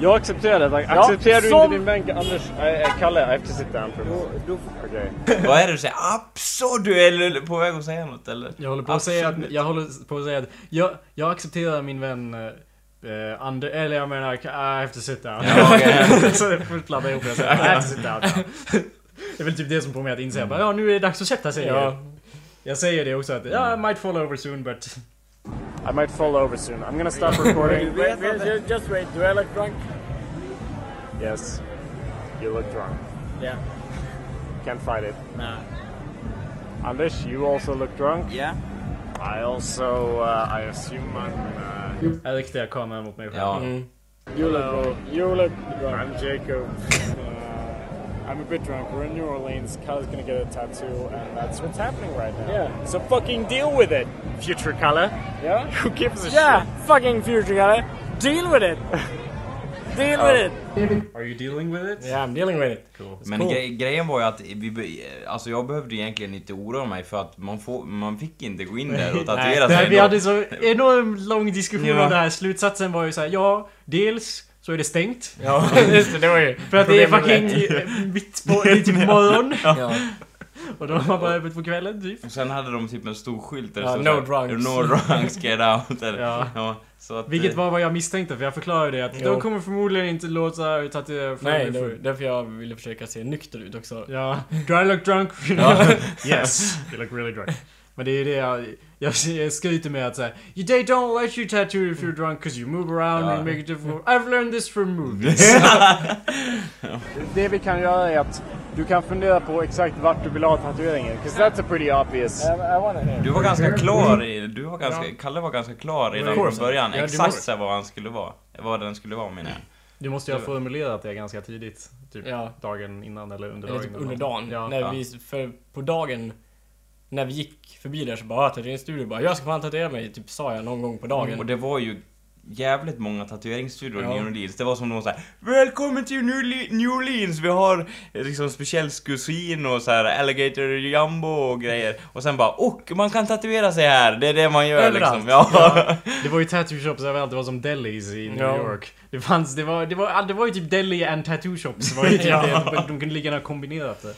Speaker 6: Jag accepterar det. tack. Accepterar du
Speaker 7: som-
Speaker 6: inte din bänk Anders? Nej, eh, Kalle, I have to sit down for a moment. Okej.
Speaker 2: ja. Vad är det du säger? Abso, du är på väg att säga något eller?
Speaker 1: Jag håller på att säga att, jag håller på att säga att jag, jag accepterar min vän eh, Ander, eller jag menar, I have to sit down.
Speaker 2: Ja, okej.
Speaker 1: så jag får ladda ihop det och säga, I have to sit down. now." det är väl typ det som får mig att inse, bara, ja nu är det dags att sätta sig.
Speaker 3: Ja.
Speaker 1: Jag säger det också att, ja, I might fall over soon but...
Speaker 6: I might fall over soon. I'm gonna stop recording.
Speaker 7: Wait, wait, ju- just wait, do I look drunk?
Speaker 6: yes. You look drunk.
Speaker 7: Yeah.
Speaker 6: Can't fight it.
Speaker 7: Nah.
Speaker 6: Anders, you also look drunk.
Speaker 2: Ja.
Speaker 6: I also, uh, I assume I'm, uh,
Speaker 1: Jag riktar kameran mot mig själv.
Speaker 2: Ja,
Speaker 7: You look drunk. You look drunk.
Speaker 6: I'm Jacob. Uh, I'm a bit drunk. We're in New Orleans. Kyle's gonna get a tattoo, and that's what's happening right now.
Speaker 7: Yeah.
Speaker 6: So fucking deal with it, future Kala. Yeah. Who gives a
Speaker 7: Yeah,
Speaker 6: shit?
Speaker 7: fucking future guy. Deal with it. Deal with it.
Speaker 1: Are you dealing with it?
Speaker 3: Yeah, I'm dealing with it.
Speaker 2: Men gre- grejen var ju att vi, be- alltså jag behövde ju egentligen inte oroa mig för att man, får, man fick inte gå in där och tatuera sig.
Speaker 1: Nej, vi
Speaker 2: då.
Speaker 1: hade så enorm lång diskussion
Speaker 2: Ja.
Speaker 1: om det här. Slutsatsen var ju så här, ja, dels så är det stängt.
Speaker 3: Ja, just det, det var ju...
Speaker 1: För att det är fucking
Speaker 3: problemet.
Speaker 1: eh, mitt på, det är typ morgon.
Speaker 3: Ja.
Speaker 1: Och då har man bara öppet på kvällen typ.
Speaker 2: Och sen hade de typ en stor skylt där det
Speaker 3: Ja,
Speaker 2: stod
Speaker 3: no
Speaker 2: såhär,
Speaker 3: drunks.
Speaker 2: No drunks, get out. Eller,
Speaker 1: Ja.
Speaker 2: ja. så att, eh,
Speaker 1: Vilket var vad jag misstänkte för jag förklarade det att
Speaker 3: Jo.
Speaker 1: de kommer förmodligen inte låta ut att det är
Speaker 3: Nej, det var därför jag ville försöka se nykter ut också.
Speaker 1: Ja, do I look drunk?
Speaker 2: Ja.
Speaker 1: yes, you look really drunk. Men det är ju det jag, jag, jag skryter med att säga They don't let you tattoo if you're drunk cause you move around
Speaker 2: Ja.
Speaker 1: and make it difficult. I've learned this from movies.
Speaker 6: Det vi kan göra är att du kan fundera på exakt vart du vill ha tatueringen. 'cause that's a pretty obvious.
Speaker 7: I want it.
Speaker 2: Du var ganska klar i, du var ganska, Kalle var ganska klar redan från början.
Speaker 1: Ja, du
Speaker 2: exakt
Speaker 1: måste-
Speaker 2: så här vad han skulle vara. Vad den skulle vara menar jag.
Speaker 1: Du måste ju ha formulerat det ganska tidigt. Typ
Speaker 3: Ja.
Speaker 1: dagen innan eller under
Speaker 3: Eller
Speaker 1: dagen.
Speaker 3: typ
Speaker 1: eller
Speaker 3: under
Speaker 1: något.
Speaker 3: dagen.
Speaker 1: Ja.
Speaker 3: när
Speaker 2: ja.
Speaker 3: vi, för på dagen, när
Speaker 1: Mm,
Speaker 3: vi gick förbi där så bara, "Ah, tatueringsstudio, bara, jag ska fan tatuera mig, typ sa jag någon gång på dagen.
Speaker 2: Och det var ju jävligt många tatueringsstudior
Speaker 3: Ja.
Speaker 2: i New Orleans. Det var som de var såhär Välkommen till New Le- New Orleans! Vi har eh, liksom speciell kusin och så här alligator jumbo och grejer. Och sen bara och man kan tatuera sig här! Det är det man gör
Speaker 3: Överallt.
Speaker 2: liksom. Ja.
Speaker 1: Det var ju tattoo shops överallt, det var som delis i New
Speaker 9: Ja.
Speaker 1: York. Det fanns, det var, det var, det var ju typ deli and tattoo shops. Var ju typ det. De kunde lika gärna kombinerat det.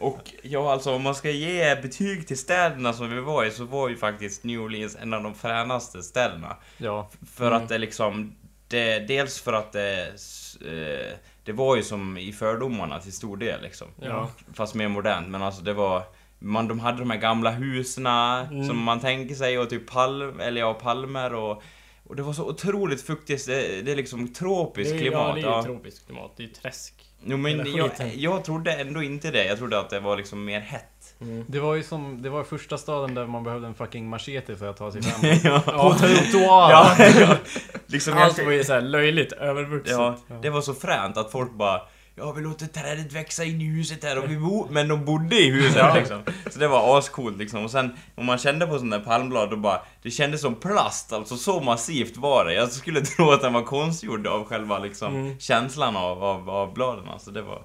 Speaker 2: Och ja, alltså om man ska ge betyg till städerna som vi var i så var ju faktiskt New Orleans en av de fränaste städerna.
Speaker 1: Ja.
Speaker 2: För
Speaker 3: Mm.
Speaker 2: att det liksom, det, dels för att det, s- eh, det var ju som i fördomarna till stor del liksom.
Speaker 1: Ja.
Speaker 2: Fast mer modernt, men alltså det var man, de hade de här gamla husen
Speaker 3: Mm.
Speaker 2: som man tänker sig och typ palm, eller ja, palmer och, och det var så otroligt fuktigt, det, det är liksom tropiskt klimat.
Speaker 3: Ja, det är ju
Speaker 2: ja.
Speaker 3: tropiskt klimat. Det är ju träsk.
Speaker 2: Jo, men
Speaker 3: Hela
Speaker 2: jag,
Speaker 3: skiten.
Speaker 2: jag trodde ändå inte det, jag trodde att det var liksom mer hett.
Speaker 1: Det var ju som, det var första staden där man behövde en fucking machete för att ta sig fram. På trottoaren!
Speaker 2: Ja, ja. Liksom, jag-
Speaker 3: Allt var ju såhär löjligt övervuxet.
Speaker 2: Ja, det var så fränt att folk bara Ja vi låter trädet växa in i huset här och vi bo... Men de bodde i huset liksom. Så det var ascoolt liksom. Och sen om man kände på sådana där palmblad då bara Det kändes som plast, alltså så massivt var det. Jag skulle tro att den var konstgjord av själva liksom känslan av, av, av bladen. Alltså det var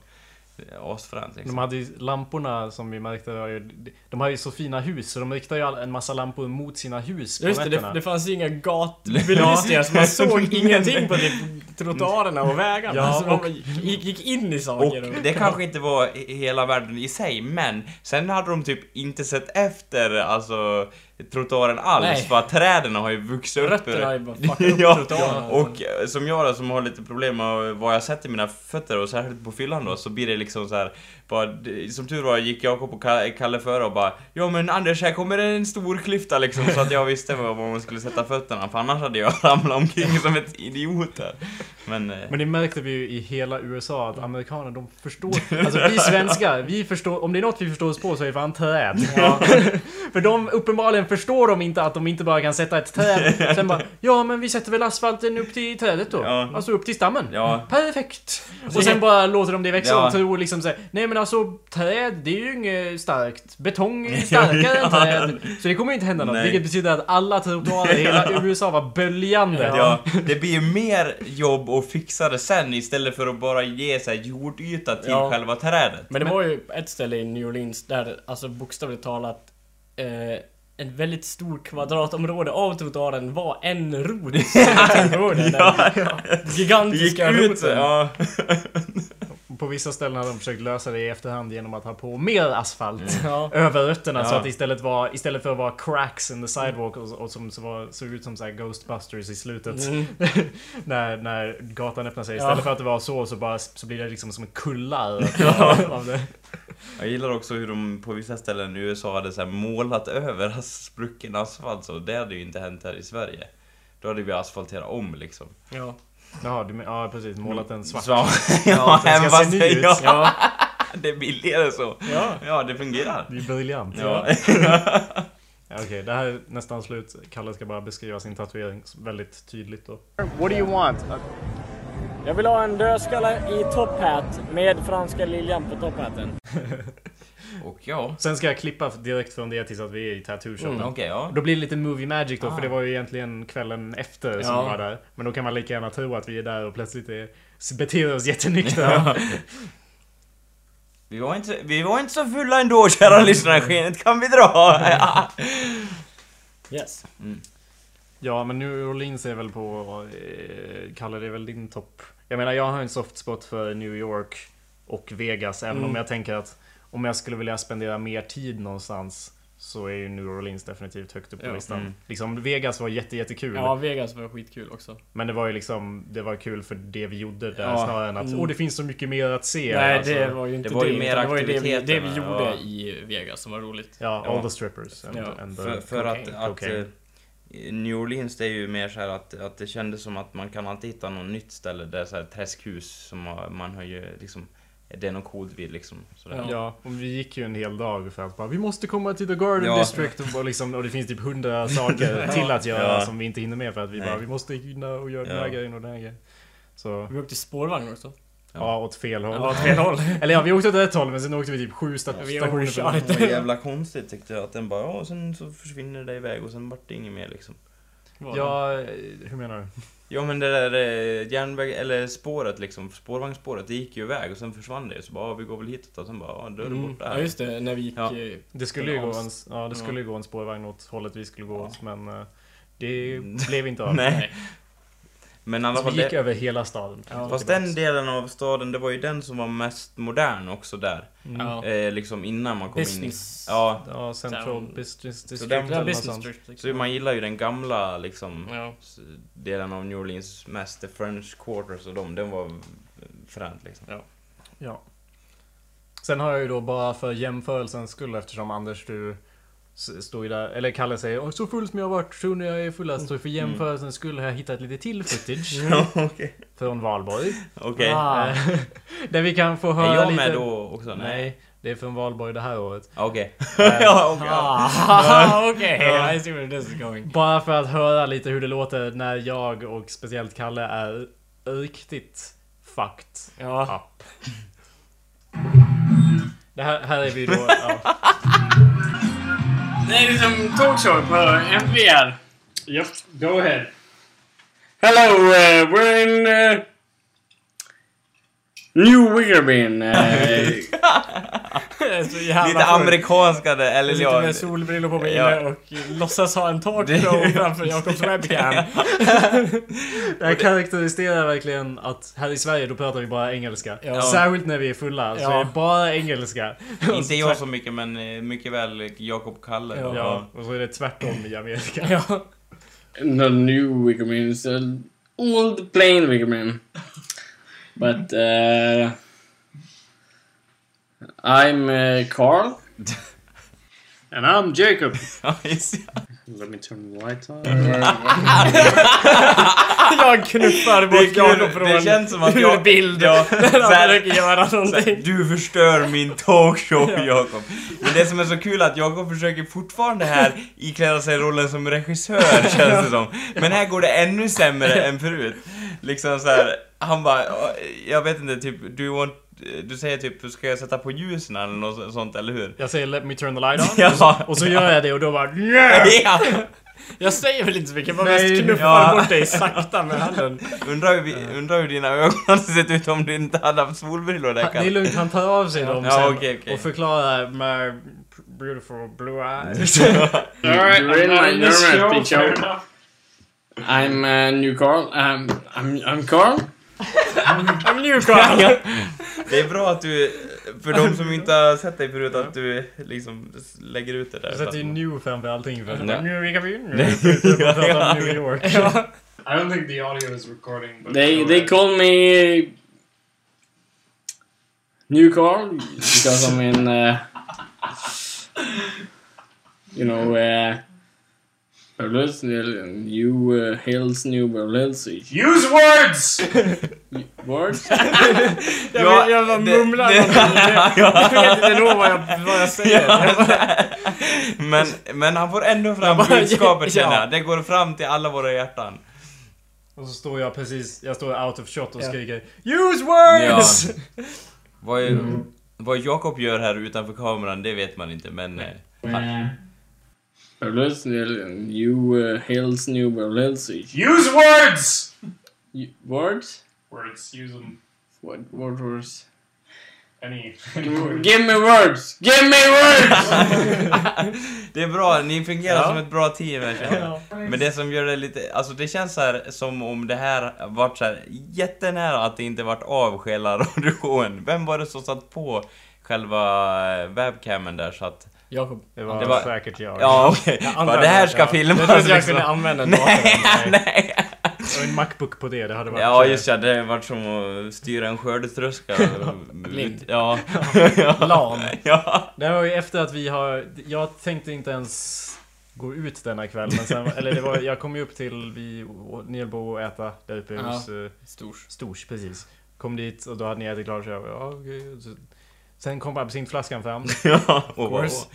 Speaker 2: eh, asfränt
Speaker 1: De
Speaker 2: liksom.
Speaker 1: hade ju lamporna som vi märkte, var ju- de hade ju så fina hus så de riktade ju all- en massa lampor mot sina hus på
Speaker 3: Just det, det,
Speaker 1: nätterna.
Speaker 3: det fanns ju inga gatbelysningar så man såg ingenting på typ trottoarerna och vägarna.
Speaker 1: Ja,
Speaker 3: så man gick, gick in i
Speaker 2: Och
Speaker 3: saker.
Speaker 2: det kanske inte var i- hela världen i sig, men sen hade de typ inte sett efter alltså trottoaren alls
Speaker 3: Nej.
Speaker 2: för att träden har ju vuxit upp
Speaker 3: Rötterna har ju bara fuckat upp alltså.
Speaker 2: ja,
Speaker 3: trottoarerna.
Speaker 2: och eh, som jag då som har lite problem med vad jag sätter mina fötter och särskilt på fyllan då så blir det liksom så här bara, det- Som tur var gick Jakob och Ka- Kalle före och bara Ja men Anders här kommer en stor klyfta liksom så att jag visste var var man skulle sätta fötterna för annars hade jag ramlat omkring som ett idiot där. Men... eh,
Speaker 1: Men det märkte vi ju i hela USA att amerikaner de förstår, alltså vi svenskar, vi förstår, om det är något vi förstår oss på så är det fan träd. För de, uppenbarligen förstår de inte att de inte bara kan sätta ett träd, sen bara ja men vi sätter väl asfalten upp till trädet då,
Speaker 2: Ja.
Speaker 1: alltså upp till stammen.
Speaker 2: Ja.
Speaker 1: Perfekt! Och sen bara låter de det växa
Speaker 2: Ja.
Speaker 1: och tror liksom såhär, nej men alltså träd det är ju inget starkt, betong är ju starkare än träd. Så det kommer ju inte hända något,
Speaker 2: Nej.
Speaker 1: vilket betyder att alla trottoarer i hela USA var böljande.
Speaker 2: Ja, det blir ju mer jobb att fixa det sen istället för att bara ge så här jordyta till
Speaker 3: Ja.
Speaker 2: själva trädet.
Speaker 3: Men det var ju ett ställe i New Orleans där alltså bokstavligt talat eh, en väldigt stor kvadratområde av trottoaren var en rod. ja, ja.
Speaker 2: Det gick
Speaker 3: Gigantiska
Speaker 2: ut
Speaker 3: roten.
Speaker 2: ja.
Speaker 1: På vissa ställen hade de försökt lösa det i efterhand genom att ha på mer asfalt
Speaker 3: Ja.
Speaker 1: över rötterna så
Speaker 2: Ja.
Speaker 1: att det istället, var, istället för att vara cracks in the sidewalk och, och som så var, såg ut som så här Ghostbusters i slutet.
Speaker 2: Mm.
Speaker 1: när, när gatan öppnar sig. Istället för att det var så så, bara, så blir det liksom som en kullar av det.
Speaker 2: Jag gillar också hur de på vissa ställen i USA hade så här målat över sprucken asfalt så. Det hade ju inte hänt här i Sverige. Då hade vi asfalterat om liksom.
Speaker 3: Ja.
Speaker 1: Jaha, du, men- ja precis. Målat en svart.
Speaker 2: Så, ja,
Speaker 1: Ja, den
Speaker 2: men
Speaker 1: ska
Speaker 2: vad
Speaker 1: se ny
Speaker 2: säger
Speaker 1: ut.
Speaker 2: jag?
Speaker 3: Ja.
Speaker 2: Det är billigare så.
Speaker 3: Ja.
Speaker 2: Ja, det fungerar.
Speaker 1: Det är briljant.
Speaker 2: Ja.
Speaker 1: Ja, Okej, det här är nästan slut. Kalle ska bara beskriva sin tatuering väldigt tydligt då.
Speaker 6: What do you want?
Speaker 7: Jag vill ha en dödskalle i top hat med franska liljan på top hatten.
Speaker 2: Och ja.
Speaker 1: Sen ska jag klippa direkt från det tills att vi är i tattoo shopen.
Speaker 2: Mm, Okej, ja.
Speaker 1: Och Då blir det lite movie magic då, för
Speaker 3: Ah.
Speaker 1: det var ju egentligen kvällen efter som vi var där. Men då kan man lika gärna tro att vi är där och plötsligt är, beter oss jättenyktra.
Speaker 2: Vi var, inte, vi var inte så fulla ändå kära lyssnare, skenet kan vi dra!
Speaker 3: Yes.
Speaker 1: ja, men New Orleans är väl på... Eh, Kalle, det är väl din topp? Jag menar, jag har en soft spot för New York och Vegas, även
Speaker 3: Mm.
Speaker 1: om jag tänker att om jag skulle vilja spendera mer tid någonstans så är ju New Orleans definitivt högt upp på
Speaker 3: Ja. Mm.
Speaker 1: listan. Liksom, Vegas var jätte, jättekul.
Speaker 3: Ja, Vegas var skitkul också.
Speaker 1: Men det var ju liksom, det var kul för det vi gjorde där
Speaker 3: Ja.
Speaker 1: snarare än att
Speaker 3: Mm.
Speaker 1: åh det finns så mycket mer att se.
Speaker 3: Nej,
Speaker 1: alltså.
Speaker 3: det var ju inte
Speaker 2: det
Speaker 3: det.
Speaker 2: var ju mer
Speaker 3: utan det var ju det vi, det vi
Speaker 2: aktiviteterna,
Speaker 3: gjorde
Speaker 2: ja.
Speaker 3: i Vegas som var roligt.
Speaker 1: Ja,
Speaker 2: Ja.
Speaker 1: all the strippers. And,
Speaker 3: Ja,
Speaker 1: and the
Speaker 2: För, för att,
Speaker 1: cocaine.
Speaker 2: att
Speaker 1: Cocaine.
Speaker 2: eh, New Orleans det är ju mer så här att, att det kändes som att man kan alltid hitta något nytt ställe där så här träskhus som har- man har ju liksom det är någon kod vid liksom. Sådär.
Speaker 1: Ja, och vi gick ju en hel dag för att bara, vi måste komma till the garden
Speaker 2: Ja.
Speaker 1: district och, bara liksom, och det finns typ hundra saker till att göra
Speaker 2: Ja.
Speaker 1: som vi inte hinner med för att vi
Speaker 2: Nej.
Speaker 1: bara, vi måste hinna och göra den här
Speaker 2: Ja.
Speaker 1: grejen och den här grejen. Så, ja,
Speaker 3: Vi åkte spårvagn också.
Speaker 1: åt fel håll.
Speaker 3: Ja, åt fel håll.
Speaker 1: Eller ja, vi åkte åt ett håll men sen åkte vi typ sju sta-
Speaker 3: vi
Speaker 1: stationer.
Speaker 3: overshot.
Speaker 1: för-
Speaker 2: Det var jävla konstigt tyckte jag att den bara ja och sen så försvinner det iväg och sen vart det inget mer liksom.
Speaker 3: Var det.
Speaker 1: Ja, eh, hur menar du?
Speaker 2: Ja men det där eh, järnväg, eller spåret liksom, spårvagnsspåret, det gick ju iväg och sen försvann det. Så bara, ah, vi går väl hitåt och sen bara, ah, då är det
Speaker 1: Mm.
Speaker 2: borta här.
Speaker 3: Mm. Ja just det, när vi gick...
Speaker 2: Ja.
Speaker 3: eh,
Speaker 1: Det skulle ju gå
Speaker 3: Avs-
Speaker 1: en, ja, det skulle ju gå en spårvagn åt hållet vi skulle gå åt, men eh, det blev inte av.
Speaker 2: Mm. Nej. Men i alla
Speaker 1: Så
Speaker 2: fall
Speaker 1: vi gick
Speaker 2: det,
Speaker 1: över hela staden.
Speaker 2: fast den delen av staden, det var ju den som var mest modern också där.
Speaker 1: Mm.
Speaker 3: Ja.
Speaker 2: Eh, liksom innan man kom
Speaker 3: Business.
Speaker 2: in i... Ja.
Speaker 1: Ja, Central
Speaker 3: Town.
Speaker 1: Business District.
Speaker 2: Så den-
Speaker 1: eller
Speaker 3: Ja,
Speaker 1: något
Speaker 3: business
Speaker 1: sånt.
Speaker 3: district.
Speaker 2: Så man gillar ju den gamla liksom
Speaker 3: Ja.
Speaker 2: s- delen av New Orleans mest, the French Quarters och dem. Den var eh, fränt liksom.
Speaker 1: Ja. Sen har jag ju då bara för jämförelsens skull eftersom Anders du s- står ju där, eller Kalle säger "Åh, så full som jag har varit tror ni jag är fullast. Så för jämförelsens skull har jag hittat lite till footage
Speaker 2: Ja, okej.
Speaker 1: från Valborg.
Speaker 2: Okej. Eh,
Speaker 1: Ah. där vi kan få höra
Speaker 2: Är jag
Speaker 1: lite...
Speaker 2: med då också? Nej.
Speaker 1: Nej, det är från Valborg det här året.
Speaker 2: Ah, Okej. ja, okej.
Speaker 3: Ah, okej! I see where this is going.
Speaker 1: Bara för att höra lite hur det låter när jag och speciellt Kalle är riktigt fucked
Speaker 3: Ja.
Speaker 1: up. Det här, här är vi då... Ja.
Speaker 7: Det är liksom talkshow på MVR.
Speaker 10: Yep, go ahead.
Speaker 7: Hello, uh, we're in uh, New Wiggerbin. Uh,
Speaker 3: Det är så jävla
Speaker 2: Lite
Speaker 3: sjukt.
Speaker 2: amerikanska där, eller
Speaker 3: Sitter
Speaker 2: ja.
Speaker 3: med solbrillor på mig
Speaker 2: Ja.
Speaker 3: inne och låtsas ha en talkshow framför Jakobs webcam.
Speaker 1: Det här karaktäriserar verkligen att här i Sverige då pratar vi bara engelska.
Speaker 3: Ja.
Speaker 1: Särskilt när vi är fulla så
Speaker 3: Ja.
Speaker 1: är det bara engelska.
Speaker 2: Inte jag så mycket men eh, mycket väl Jakob Kalle.
Speaker 3: Ja.
Speaker 2: då.
Speaker 1: Ja, och så är det tvärtom i Amerika.
Speaker 3: Ja.
Speaker 7: the New Wiggerbin is the old plain Wiggerbin. But uh, I'm uh, Carl. And I'm Jacob.
Speaker 2: Ja, just det.
Speaker 7: Let me turn the lights on.
Speaker 3: Jag knuffar
Speaker 2: Det, är
Speaker 3: bort Jakob
Speaker 2: kul,
Speaker 3: från...
Speaker 2: det känns som att jag...
Speaker 3: bild.
Speaker 2: Ja,
Speaker 3: Han
Speaker 2: så här-
Speaker 3: försöker göra
Speaker 2: så här,
Speaker 3: någonting.
Speaker 2: du förstör min talkshow Jakob. Men det som är så kul är att Jakob försöker fortfarande här ikläda sig rollen som regissör känns det som. Men här går det ännu sämre än förut. Liksom så här, han bara, "Ja, jag vet inte, typ, do you want, du säger typ, ska jag sätta på ljusen eller något sånt, eller hur?
Speaker 1: Jag säger let me turn the light on.
Speaker 2: Ja.
Speaker 1: Och så gör jag det och då bara
Speaker 2: Ja.
Speaker 3: Jag säger väl inte så mycket, jag bara
Speaker 1: Nej.
Speaker 3: mest knuffar
Speaker 2: Ja.
Speaker 3: bort dig sakta med handen.
Speaker 2: Undrar hur, vi, undrar hur dina ögon hade sett ut om du inte hade haft solbrillor där
Speaker 1: Det är
Speaker 2: Kalle.
Speaker 1: lugnt, han tar av sig dem
Speaker 2: Ja,
Speaker 1: sen
Speaker 2: okej, okej.
Speaker 1: och förklarar my beautiful blue eyes.
Speaker 7: Alright,
Speaker 10: You're in my
Speaker 7: show.
Speaker 10: nerve, bitch.
Speaker 7: I'm uh, new Carl. Um, I'm I'm Carl.
Speaker 3: I'm new Carl!
Speaker 2: Det är bra att du, för de som inte har sett dig förut, att du liksom lägger ut det där.
Speaker 1: Jag sätter ju new framför allting för att
Speaker 2: Ja.
Speaker 1: nu gick vi in. Jag bara pratar om New York.
Speaker 6: I don't think the audio is recording. But
Speaker 7: They they call me new Carl because I'm in. Uh, you know, uh, Berlitz, new uh, hills, new Berlin.
Speaker 6: use words.
Speaker 7: Words.
Speaker 3: Jag,
Speaker 2: Ja,
Speaker 3: vill- jag bara
Speaker 2: det-
Speaker 3: mumlar
Speaker 2: det-
Speaker 3: någonting. Jag vet inte nog vad jag, vad jag säger. Jag bara,
Speaker 2: men, men han får ändå fram
Speaker 3: Jag bara-
Speaker 2: budskapet
Speaker 3: ja.
Speaker 2: känner jag. Det går fram till alla våra hjärtan.
Speaker 1: Och så står jag precis, jag står out of shot och
Speaker 3: Ja.
Speaker 1: skriker Use words!
Speaker 2: Vad, är, vad Jakob gör här utanför kameran, det vet man inte men... eh,
Speaker 7: Berlitz, new uh, hills, new Berlin.
Speaker 6: Use words.
Speaker 7: Words.
Speaker 6: Words. Use them.
Speaker 7: What what words?
Speaker 6: Any.
Speaker 7: Give me words. Give me words.
Speaker 2: Det är bra, ni fungerar som ett bra team här känner jag. Men det som gör det lite, alltså det känns så här som om det här vart så här jättenära att det inte vart av själva radioshowen. Vem var det som satt på själva eh, webcamen där så att...
Speaker 3: Jakob.
Speaker 1: Det var,
Speaker 2: Det var-
Speaker 1: säkert jag.
Speaker 2: Ja okej, Bara, det här ska
Speaker 1: ja.
Speaker 3: Jag trodde
Speaker 2: filmas
Speaker 3: jag kunde
Speaker 2: liksom.
Speaker 3: använda datorn.
Speaker 2: Nej, nej.
Speaker 1: Och en Macbook på det, det hade varit... eh,
Speaker 2: Ja just ja, det vart som att styra en skördetröska.
Speaker 3: Blind.
Speaker 2: Ja.
Speaker 3: Lam.
Speaker 2: ja.
Speaker 1: Det här var ju efter att vi har... Jag tänkte inte ens gå ut denna kväll men sen, eller det var, jag kom ju upp till vi Nerbo och äta där uppe hos eh,
Speaker 3: Stors.
Speaker 1: Stors precis. Kom dit och då hade ni ätit klart så jag bara, ja okej. Så- Sen kom absintflaskan fram.
Speaker 2: Ja, och bara,
Speaker 1: course.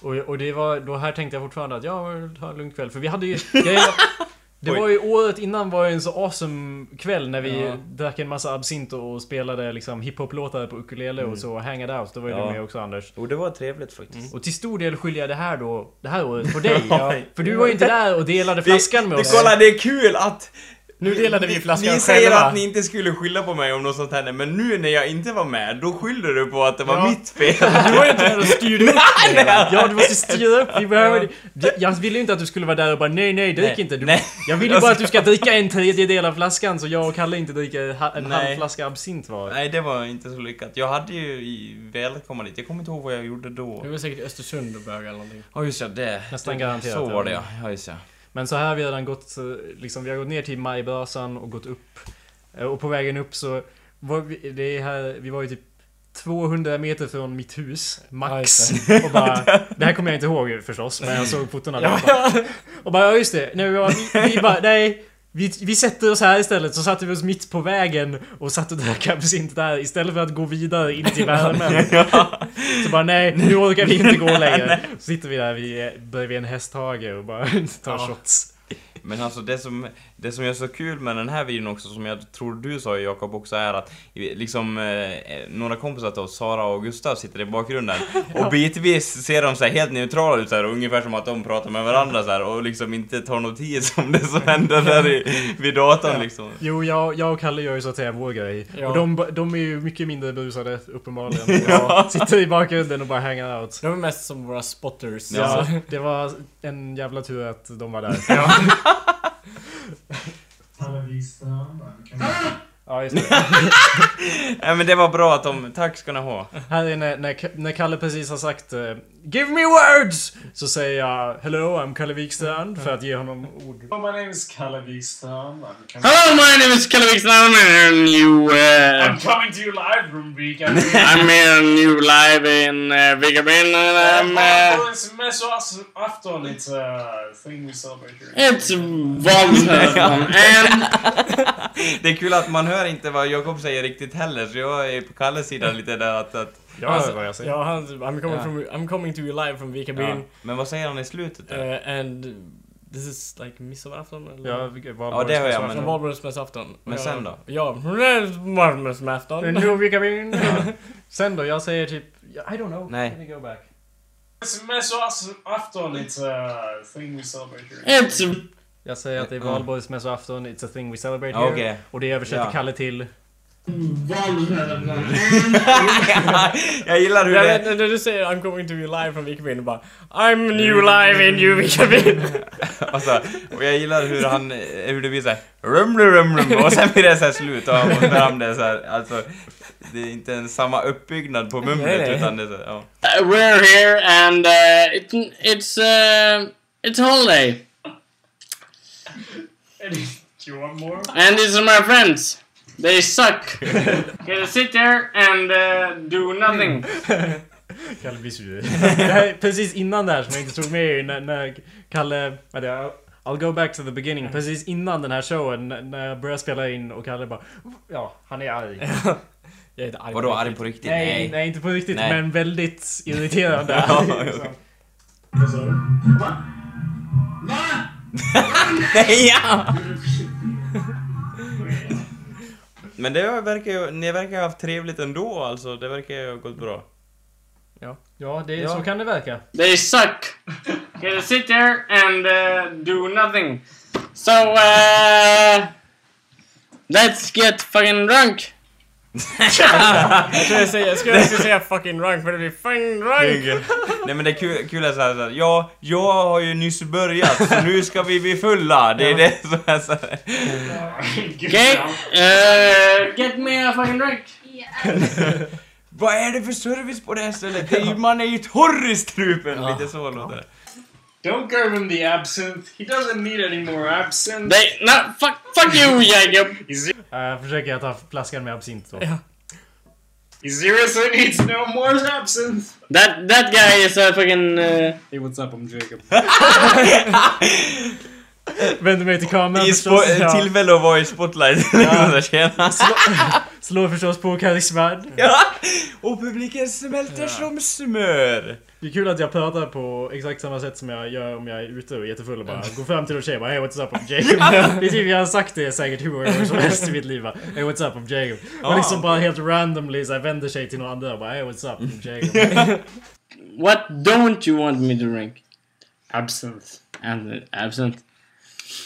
Speaker 1: Och, och det var, då här tänkte jag fortfarande att ja, ta en lugn kväll. För vi hade ju... grejen var- det
Speaker 2: Oj.
Speaker 1: var ju året innan var ju en så awesome kväll när vi
Speaker 3: Ja.
Speaker 1: drack en massa absint och spelade liksom hiphop-låtar på ukulele och så, hangade out. Då var ju
Speaker 2: Mm. Ja.
Speaker 1: du med också Anders.
Speaker 2: och det var trevligt faktiskt.
Speaker 1: Och till stor del skyller jag det här då, det här året på dig.
Speaker 2: Ja.
Speaker 1: För du var ju inte där och delade
Speaker 2: Vi-
Speaker 1: flaskan med
Speaker 2: Vi
Speaker 1: oss.
Speaker 2: kolla, det är kul att
Speaker 3: Nu delade vi flaskan
Speaker 2: Ni säger
Speaker 3: själva.
Speaker 2: att ni inte skulle skylla på mig om något sånt hände, men nu när jag inte var med, då skyller du på att det var
Speaker 3: Ja.
Speaker 2: mitt fel.
Speaker 3: Du var ju inte där och styrde upp det hela.
Speaker 1: Ja, du måste styra upp. Vi behöver... Jag- Jag ville ju inte att du skulle vara där och bara nej, nej, drick inte. Du,
Speaker 2: Nej.
Speaker 1: jag vill ju bara att du ska dricka en tredjedel av flaskan så jag och Kalle inte dricker ha- en
Speaker 2: Nej.
Speaker 1: halv flaska absint var.
Speaker 2: Nej, det var inte så lyckat. Jag hade ju i- velat komma dit. Jag kommer inte ihåg vad jag gjorde då.
Speaker 3: Du var säkert i Östersund och bögade eller någonting.
Speaker 2: Ja, just ja, det.
Speaker 1: Mm. Nästan
Speaker 2: det-
Speaker 1: garanterat,
Speaker 2: Så
Speaker 1: ja.
Speaker 2: var det ja. Ja, just ja.
Speaker 1: Men så här har vi redan gått, eh, liksom, vi har gått ner till majbrasan och gått upp. Eh, Och på vägen upp så var vi, det är här, vi var ju typ 200 meter från mitt hus,
Speaker 3: Ja,
Speaker 1: max.
Speaker 3: just
Speaker 1: och bara, det här kommer jag inte ihåg förstås, men jag såg fotona. där. Och bara, ja just det. Nej, vi, bara- vi, vi bara, nej. Vi, vi sätter oss här istället, så satte vi oss mitt på vägen och satt och drack absint där istället för att gå vidare in till värmen. Så bara nej, nu orkar vi inte gå längre. Så sitter vi där vid, bredvid en hästhage och bara tar shots.
Speaker 2: Men alltså det som, det som är så kul med den här videon också, som jag tror du sa Jakob också, är att liksom eh, några kompisar till oss, Sara och Gustav, sitter i bakgrunden. Och bitvis ser de så här helt neutrala ut så här, och ungefär som att de pratar med varandra så här, och liksom inte tar notis om det som händer där i, vid datorn liksom.
Speaker 1: Jo, jag, jag och Kalle gör ju så att säga vår grej.
Speaker 3: Ja.
Speaker 1: Och de, de är ju mycket mindre berusade uppenbarligen. Ja. Sitter i bakgrunden och bara hangar out.
Speaker 3: De var mest som våra spotters.
Speaker 1: Ja.
Speaker 3: Alltså.
Speaker 1: det var en jävla tur att de var där. Ja, just det.
Speaker 2: Nej men det var bra att de, tack ska ni ha.
Speaker 1: Här är när, när, när Kalle precis har sagt eh, Give me words! Så säger jag Hello, I'm Kalle Wikstrand för att ge honom ord.
Speaker 11: Hello, my name is Kalle Wikström. I'm coming,
Speaker 7: Hello, my name is Kelly Wickstone, and I'm new. Uh,
Speaker 11: I'm coming to you live from Weekend.
Speaker 7: I'm here new live in uh, Vigabin, and I'm.
Speaker 2: eh,
Speaker 7: Uh,
Speaker 11: it's Afton. It's a eh, thing we celebrate here.
Speaker 7: it's Volkswagen, and
Speaker 2: Det är kul att man hör inte vad Jakob säger riktigt heller, så jag är på Kalles sida lite där att, att
Speaker 1: Jag hör vad jag säger.
Speaker 3: Ja, han, I'm, coming from, I'm coming to you live from Vika
Speaker 2: ja.
Speaker 3: Byn.
Speaker 2: Men vad säger han i slutet där?
Speaker 3: eh, and this is like midsommarafton eller?
Speaker 1: Ja, vilka- vad
Speaker 2: Ja,
Speaker 1: var
Speaker 2: det hör jag,
Speaker 1: som-
Speaker 2: men-
Speaker 3: Från valborgsmässoafton.
Speaker 2: Men
Speaker 3: Ja,
Speaker 2: sen då?
Speaker 3: Ja, valborgsmässoafton.
Speaker 1: Nu vi kommer in. Sen då? Jag säger typ... I don't know.
Speaker 2: Nej.
Speaker 1: Let me go back.
Speaker 11: It's Afton. It's a thing we celebrate here.
Speaker 7: it's
Speaker 1: Jag säger att det är
Speaker 2: Mm.
Speaker 1: valborgsmässoafton, it's a thing we celebrate
Speaker 2: Ja,
Speaker 1: here.
Speaker 2: okej.
Speaker 1: Och det översätter
Speaker 2: Ja.
Speaker 1: Kalle till...
Speaker 7: Volkswagen.
Speaker 2: jag gillar hur
Speaker 3: Ja,
Speaker 2: det...
Speaker 3: men när du säger I'm coming to you live from Vika Byn, du bara I'm new live in new Vika Byn.
Speaker 2: Alltså, och jag gillar hur han, eh, hur det blir såhär rum rum rum rum och sen blir det såhär slut och han får fram det såhär, alltså det är inte ens samma uppbyggnad på mumlet
Speaker 3: Nej, nej.
Speaker 2: utan det är så, här, ja.
Speaker 7: Uh, We're here, and uh, it's it's uh, it's holiday,
Speaker 11: Eddie, do you want more?
Speaker 7: and these are my friends. They suck. Gonna sit there and uh, do nothing.
Speaker 1: Kalle blir sur. Det här är precis innan det här som jag inte tog med er, när, när Kalle... vad är det? I'll- I'll go back to the beginning. Precis innan den här showen när- när jag började spela in och Kalle bara... Ja, han är arg.
Speaker 3: Jag är inte arg
Speaker 2: Vadå
Speaker 3: på
Speaker 2: arg
Speaker 3: riktigt.
Speaker 2: på riktigt?
Speaker 1: Nej, nej inte på riktigt
Speaker 2: Nej.
Speaker 1: men väldigt irriterande.
Speaker 2: Ja,
Speaker 1: Liksom.
Speaker 2: jo. Nej, ja. Men det verkar ju, ni verkar ju ha haft trevligt ändå alltså, det verkar ju ha gått bra.
Speaker 1: Ja, det, så kan det verka.
Speaker 7: They suck. Gonna sit there and uh, do nothing. So uh, let's get fucking drunk.
Speaker 3: Jag tror jag säger, jag skulle också säga fucking drunk, men det blir fucking drunk.
Speaker 2: Nej men det är kul, kul är såhär, så här, ja, jag har ju nyss börjat så nu ska vi bli fulla, det är det som är såhär.
Speaker 7: Okay. Uh, get me a fucking drink.
Speaker 2: Vad är det för service på det här stället? Det är ju, man är ju torr i strupen! Lite så låter det.
Speaker 11: Don't give him the absinthe. He doesn't need any more absinthe.
Speaker 7: They no fuck fuck you, Jacob.
Speaker 11: He's-
Speaker 1: Jag försöker jag ta flaskan med absint då.
Speaker 11: He seriously needs no more absinthe.
Speaker 7: That that guy is a fucking. Uh,
Speaker 11: Hey, what's up? I'm Jacob.
Speaker 1: Vänder mig till kameran
Speaker 2: I
Speaker 1: förstås.
Speaker 2: spo-
Speaker 1: Ja.
Speaker 2: tillfälle att vara i spotlight. Ja. Tjena!
Speaker 1: Slår förstås på karisman.
Speaker 2: Ja. Och publiken smälter som smör!
Speaker 1: Det är kul att jag pratar på exakt samma sätt som jag gör om jag är ute och är jättefull och bara går fram till en tjej och bara Hey what's up I'm Jacob? Det är typ, jag har sagt det säkert hur många gånger som helst i mitt liv bara, Hey what's up I'm Jacob? Man
Speaker 2: Ah,
Speaker 1: liksom bara helt randomly så här, vänder sig till någon annan och bara Hey what's up I'm Jacob?
Speaker 7: what don't you want me to drink? Absinthe. And absinthe.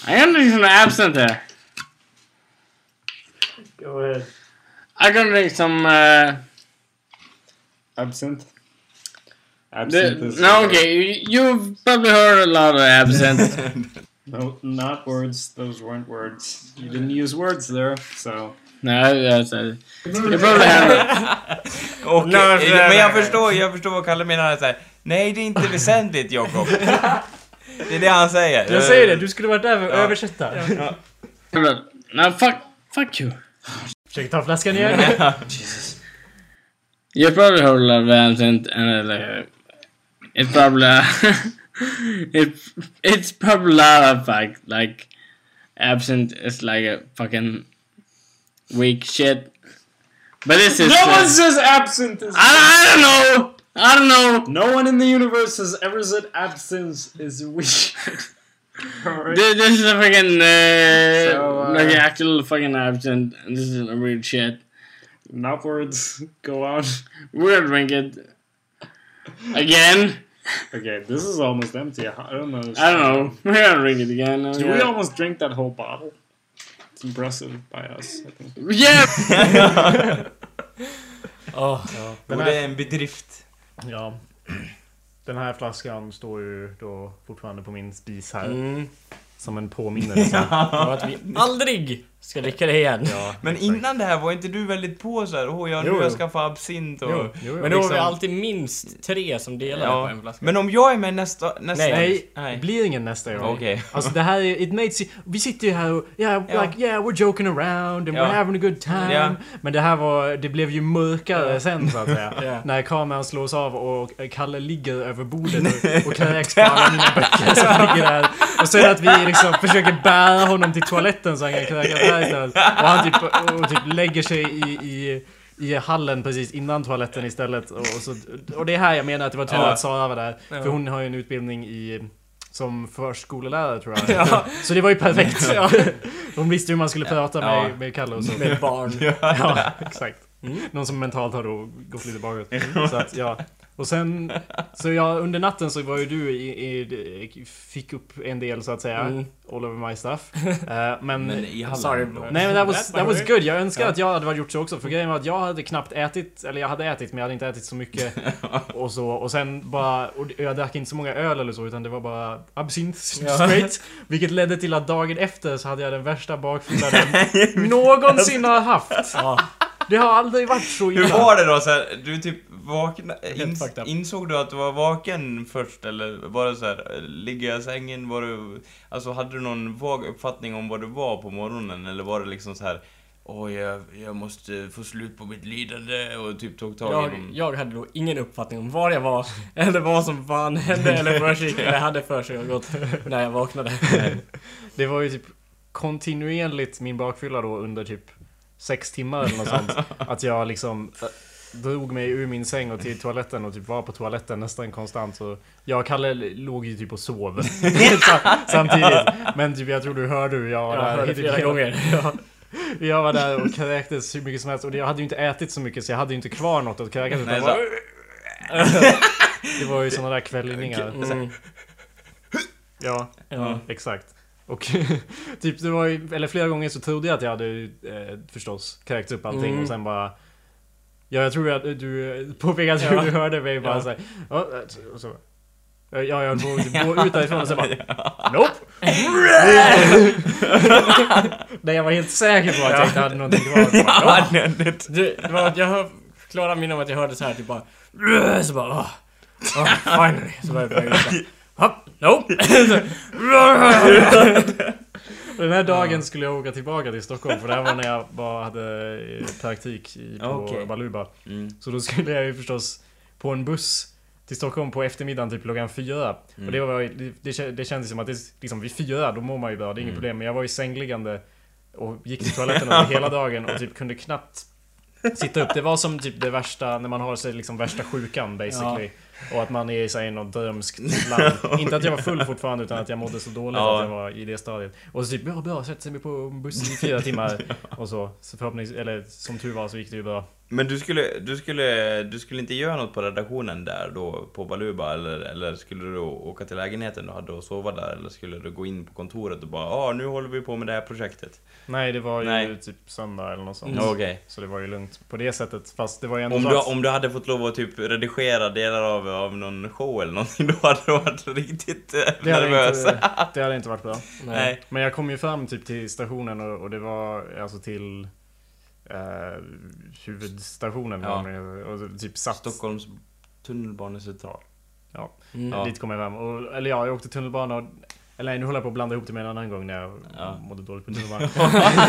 Speaker 7: I understand absinthe there.
Speaker 6: Go ahead.
Speaker 7: I'm gonna drink some uh, absinthe.
Speaker 6: Absinthe
Speaker 7: The,
Speaker 6: is-
Speaker 7: no, okay, you, you've probably heard a lot of absinthe.
Speaker 6: No, not words. Those weren't words. You didn't use words there, so.
Speaker 7: no, that's, uh, you probably have.
Speaker 2: Och,
Speaker 7: Nej, men-
Speaker 2: eh, men jag förstår, jag förstår vad Kalle menar. Så här, Nej, det är inte väsentligt, Jakob. Det är det han säger.
Speaker 3: Jag säger det, du skulle varit där för att översätta.
Speaker 7: No, fuck, fuck you.
Speaker 1: Försöker ta flaskan igen.
Speaker 7: You probably heard a lot of absinthe, and uh, it probably it it's probably a lot of like like absinthe is like a fucking weak shit. But this is
Speaker 6: No
Speaker 7: uh,
Speaker 6: one says absinthe is.
Speaker 7: I, I don't know. I don't know.
Speaker 6: No one in the universe has ever said absinthe is weak. Alright.
Speaker 7: This, this is a fucking uh,
Speaker 6: So, uh,
Speaker 7: like an actual fucking absinthe, and this is a weird shit.
Speaker 6: Not words. Go on.
Speaker 7: We're gonna drink it again.
Speaker 6: Okay, this is almost empty. I don't know.
Speaker 7: I don't know. We're gonna drink it again.
Speaker 6: Dude, we almost drank that whole bottle. It's impressive by us. I think.
Speaker 7: yeah.
Speaker 3: Åh, ja.
Speaker 2: Och det är en bedrift.
Speaker 1: Ja. Den här flaskan står ju då fortfarande på min spis här.
Speaker 3: Mm.
Speaker 1: Som en påminnelse.
Speaker 3: Och att vi aldrig ska dricka det igen. Ja.
Speaker 2: Men innan det här, var inte du väldigt på så här, åh, jag, nu
Speaker 3: Jo,
Speaker 2: har jag
Speaker 3: jo.
Speaker 2: skaffat absint och...
Speaker 1: Jo, jo, jo.
Speaker 3: Men då har vi
Speaker 2: Liksom-
Speaker 3: alltid minst tre som delar på
Speaker 2: Ja.
Speaker 3: en flaska.
Speaker 2: Men om jag är med nästa... nästa
Speaker 1: Nej, det
Speaker 2: nej.
Speaker 1: blir ingen nästa gång.
Speaker 2: Okej.
Speaker 1: Alltså det här är, it makes you, vi sitter ju här och, yeah,
Speaker 2: Ja.
Speaker 1: like, yeah we're joking around and
Speaker 2: Ja.
Speaker 1: we're having a good time.
Speaker 2: Ja.
Speaker 1: Men det här var, det blev ju mörkare sen så att säga.
Speaker 3: Ja.
Speaker 1: När kameran slås av och eh, Kalle ligger över bordet och, och kräks på alla mina böcker som ligger där. Och sen att vi liksom försöker bära honom till toaletten så han kan kräkas färdigt. Och han typ, och typ lägger sig i, i i hallen precis innan toaletten istället. Och, och, så, och det är här jag menar att det var tur
Speaker 2: Ja.
Speaker 1: att Sara var där. För hon har ju en utbildning i som förskolelärare tror jag. Så det var ju perfekt. Hon visste hur man skulle prata med, med Kalle och så.
Speaker 3: Med barn. Mm.
Speaker 1: Ja, exakt. Någon som mentalt har då gått lite bakåt. Så att, ja. Och sen, så ja, under natten så var ju du i, i, fick upp en del så att säga.
Speaker 3: Mm.
Speaker 1: All over my stuff. Eh, men
Speaker 2: Men i hallen.
Speaker 3: Sorry.
Speaker 1: Nej men that was,
Speaker 3: That, by
Speaker 1: that
Speaker 3: the
Speaker 1: was
Speaker 3: way.
Speaker 1: good, jag önskar att jag hade varit gjort så också för grejen var att jag hade knappt ätit, eller jag hade ätit men jag hade inte ätit så mycket och så och sen bara, och jag drack inte så många öl eller så utan det var bara absint straight Vilket ledde till att dagen efter så hade jag den värsta bakfyllan jag någonsin har haft
Speaker 3: Ja.
Speaker 1: Det har aldrig varit så
Speaker 2: Hur
Speaker 1: illa
Speaker 2: var det då? Så här, du typ vakna, ins,
Speaker 3: fucked up.
Speaker 2: insåg du att du var vaken först eller var det så här, ligga i sängen? Var du, alltså hade du någon vag uppfattning om vad du var på morgonen eller var det liksom så här Åh, jag, jag måste få slut på mitt lidande och typ tog tag i
Speaker 3: Jag,
Speaker 2: någon...
Speaker 3: jag hade då ingen uppfattning om var jag var, eller vad som fan hände eller försiggick. eller Jag hade för sig gått när jag vaknade.
Speaker 1: Det var ju typ kontinuerligt min bakfylla då under typ sex timmar eller något sånt. Att jag liksom eh, drog mig ur min säng och till toaletten och typ var på toaletten nästan konstant. Så jag och Kalle låg ju typ och sov Sam- samtidigt. Men typ jag tror du hörde hur jag var
Speaker 3: Jag hörde
Speaker 1: där. typ
Speaker 3: flera gånger. Ja.
Speaker 1: Jag var där och kräktes hur mycket som helst och jag hade ju inte ätit så mycket så jag hade ju inte kvar något att kräkas utan
Speaker 2: Nej,
Speaker 1: bara,
Speaker 2: så,
Speaker 1: Det var ju såna där kvällningar.
Speaker 3: Mm.
Speaker 1: Ja.
Speaker 3: Ja.
Speaker 1: Exakt. Och typ det var ju, eller flera gånger så trodde jag att jag hade eh, förstås kräkt upp allting
Speaker 3: Mm.
Speaker 1: och sen bara Ja jag tror att du påpekade att
Speaker 3: Ja.
Speaker 1: du hörde mig bara
Speaker 3: Ja.
Speaker 1: såhär ja. eh, och så, Ja jag höll på att typ gå ut därifrån och sen bara Nope! Nej jag var helt säker på att jag inte hade någonting kvar. Så bara, "Ja."
Speaker 3: Det, det var att jag hör, klara minnen om att jag hörde så här typ bara... Så bara... ah, ah,
Speaker 1: Oh,
Speaker 3: finally! Så var jag på väg ut där. Hopp, Nope!
Speaker 1: Och Den här dagen skulle jag åka tillbaka till Stockholm för det här var när jag bara hade eh, praktik i, på
Speaker 2: Okej.
Speaker 1: Baluba.
Speaker 2: Mm.
Speaker 1: Så då skulle jag ju förstås på en buss till Stockholm på eftermiddagen typ klockan fyra.
Speaker 2: Mm.
Speaker 1: Och det, var, det, det, kä- det kändes som att det, liksom, vid fyra då mår man ju bra, det
Speaker 2: Mm.
Speaker 1: är inget problem. Men jag var ju sängliggande och gick till toaletten under hela dagen och typ kunde knappt sitta upp. Det var som typ det värsta, när man har sig liksom värsta sjukan basically. Och att man är så här, i något drömskt land. Inte att jag var full fortfarande utan att jag mådde så dåligt
Speaker 2: Ja.
Speaker 1: att jag var i det stadiet. Och så typ, ja bra, sätter sig på bussen i fyra timmar. Och så. så förhoppnings- eller som tur var så gick det ju bra.
Speaker 2: Men du skulle, du, skulle, du skulle inte göra något på redaktionen där då, på Baluba? Eller, eller skulle du åka till lägenheten du hade och sova där? Eller skulle du gå in på kontoret och bara ah, nu håller vi på med det här projektet?
Speaker 1: Nej, det var ju
Speaker 2: Nej.
Speaker 1: typ söndag eller något sånt.
Speaker 2: Ja, Okej.
Speaker 1: Så det var ju lugnt på det sättet. Fast det var ju ändå
Speaker 2: Om
Speaker 1: så
Speaker 2: du,
Speaker 1: att-
Speaker 2: om du hade fått lov att typ redigera delar av, av någon show eller någonting, då hade du varit riktigt eh,
Speaker 1: det hade,
Speaker 2: nervös.
Speaker 1: inte, det hade inte varit bra.
Speaker 2: Nej.
Speaker 1: Men jag kom ju fram typ till stationen och, och det var alltså till eh, huvudstationen.
Speaker 2: Ja.
Speaker 1: Och, och typ satt
Speaker 2: Stockholms tunnelbanecentral.
Speaker 1: Ja,
Speaker 3: Mm.
Speaker 2: Ja.
Speaker 1: dit kom jag fram. Och, eller ja, jag åkte tunnelbana och... Eller nej, nu håller jag på att blanda ihop det med en annan gång när jag
Speaker 2: Ja.
Speaker 1: mådde dåligt på tunnelbanan.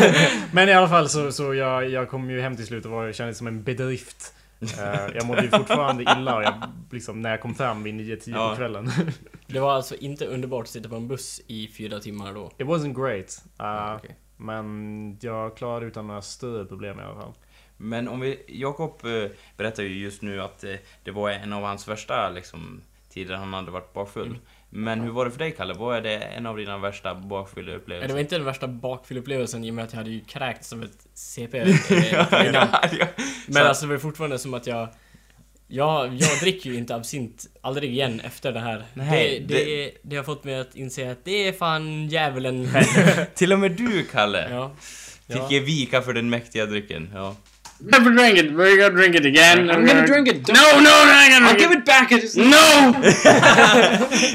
Speaker 1: Men i alla fall så, så jag, jag kom ju hem till slut och var, kändes som en bedrift. Eh, jag mådde ju fortfarande illa och jag, liksom, när jag kom fram vid 9-10
Speaker 2: Ja.
Speaker 1: på kvällen.
Speaker 3: Det var alltså inte underbart att sitta på en buss i fyra timmar då.
Speaker 1: It wasn't great. Eh,
Speaker 2: okej.
Speaker 1: Men jag klarade utan några större problem i alla fall.
Speaker 2: Men om vi, Jakob eh, berättar ju just nu att eh, det var en av hans värsta liksom, tider han hade varit bakfull.
Speaker 3: Mm.
Speaker 2: Men hur var det för dig Kalle? Vad är det en av dina värsta bakfyllda
Speaker 3: Men Det
Speaker 2: upplevelser?
Speaker 3: var inte den värsta bakfylleupplevelsen i och med att jag hade ju kräkts som ett CP eh, innan.
Speaker 2: Ja.
Speaker 3: Men alltså det var ju fortfarande som att jag jag, jag dricker ju inte absint aldrig igen efter det här.
Speaker 2: Nej,
Speaker 3: det, det, det... har fått mig att inse att det är fan djävulen
Speaker 2: Till och med du Kalle
Speaker 3: ja.
Speaker 2: fick
Speaker 3: Ja.
Speaker 2: ge vika för den mäktiga drycken. Ja.
Speaker 7: Never drink it. We're gonna drink it again.
Speaker 12: I'm gonna drink it.
Speaker 7: No, no, no, I'm gonna
Speaker 12: I'll
Speaker 7: drink
Speaker 12: give it back! I just...
Speaker 7: it. No!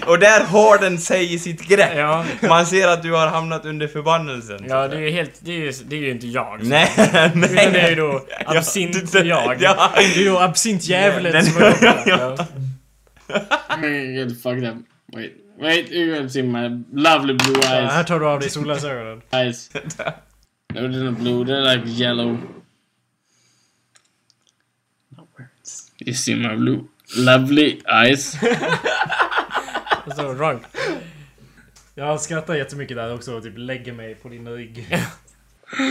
Speaker 2: Och där har den sig i sitt grepp!
Speaker 3: Ja.
Speaker 2: Man ser att du har hamnat under förbannelsen.
Speaker 3: ja, det är ju helt... Det är ju, det är ju inte jag.
Speaker 2: Nej,
Speaker 3: Utan det är
Speaker 2: nej.
Speaker 3: ju då absint-jag.
Speaker 2: Ja.
Speaker 3: Det är ju då absint-djävulen
Speaker 2: Den-
Speaker 3: som har gjort det. Ja.
Speaker 7: I'm gonna get fucked up. Wait, wait, you're gonna see my lovely blue
Speaker 1: Ja, här
Speaker 7: eyes.
Speaker 1: tar du av dig solglasögonen.
Speaker 7: eyes. No, they're not blue, they're like yellow. You see my blue, lovely eyes?
Speaker 3: Och så drunk.
Speaker 1: Jag skrattar jättemycket där också och typ lägger mig på din rygg.
Speaker 7: What are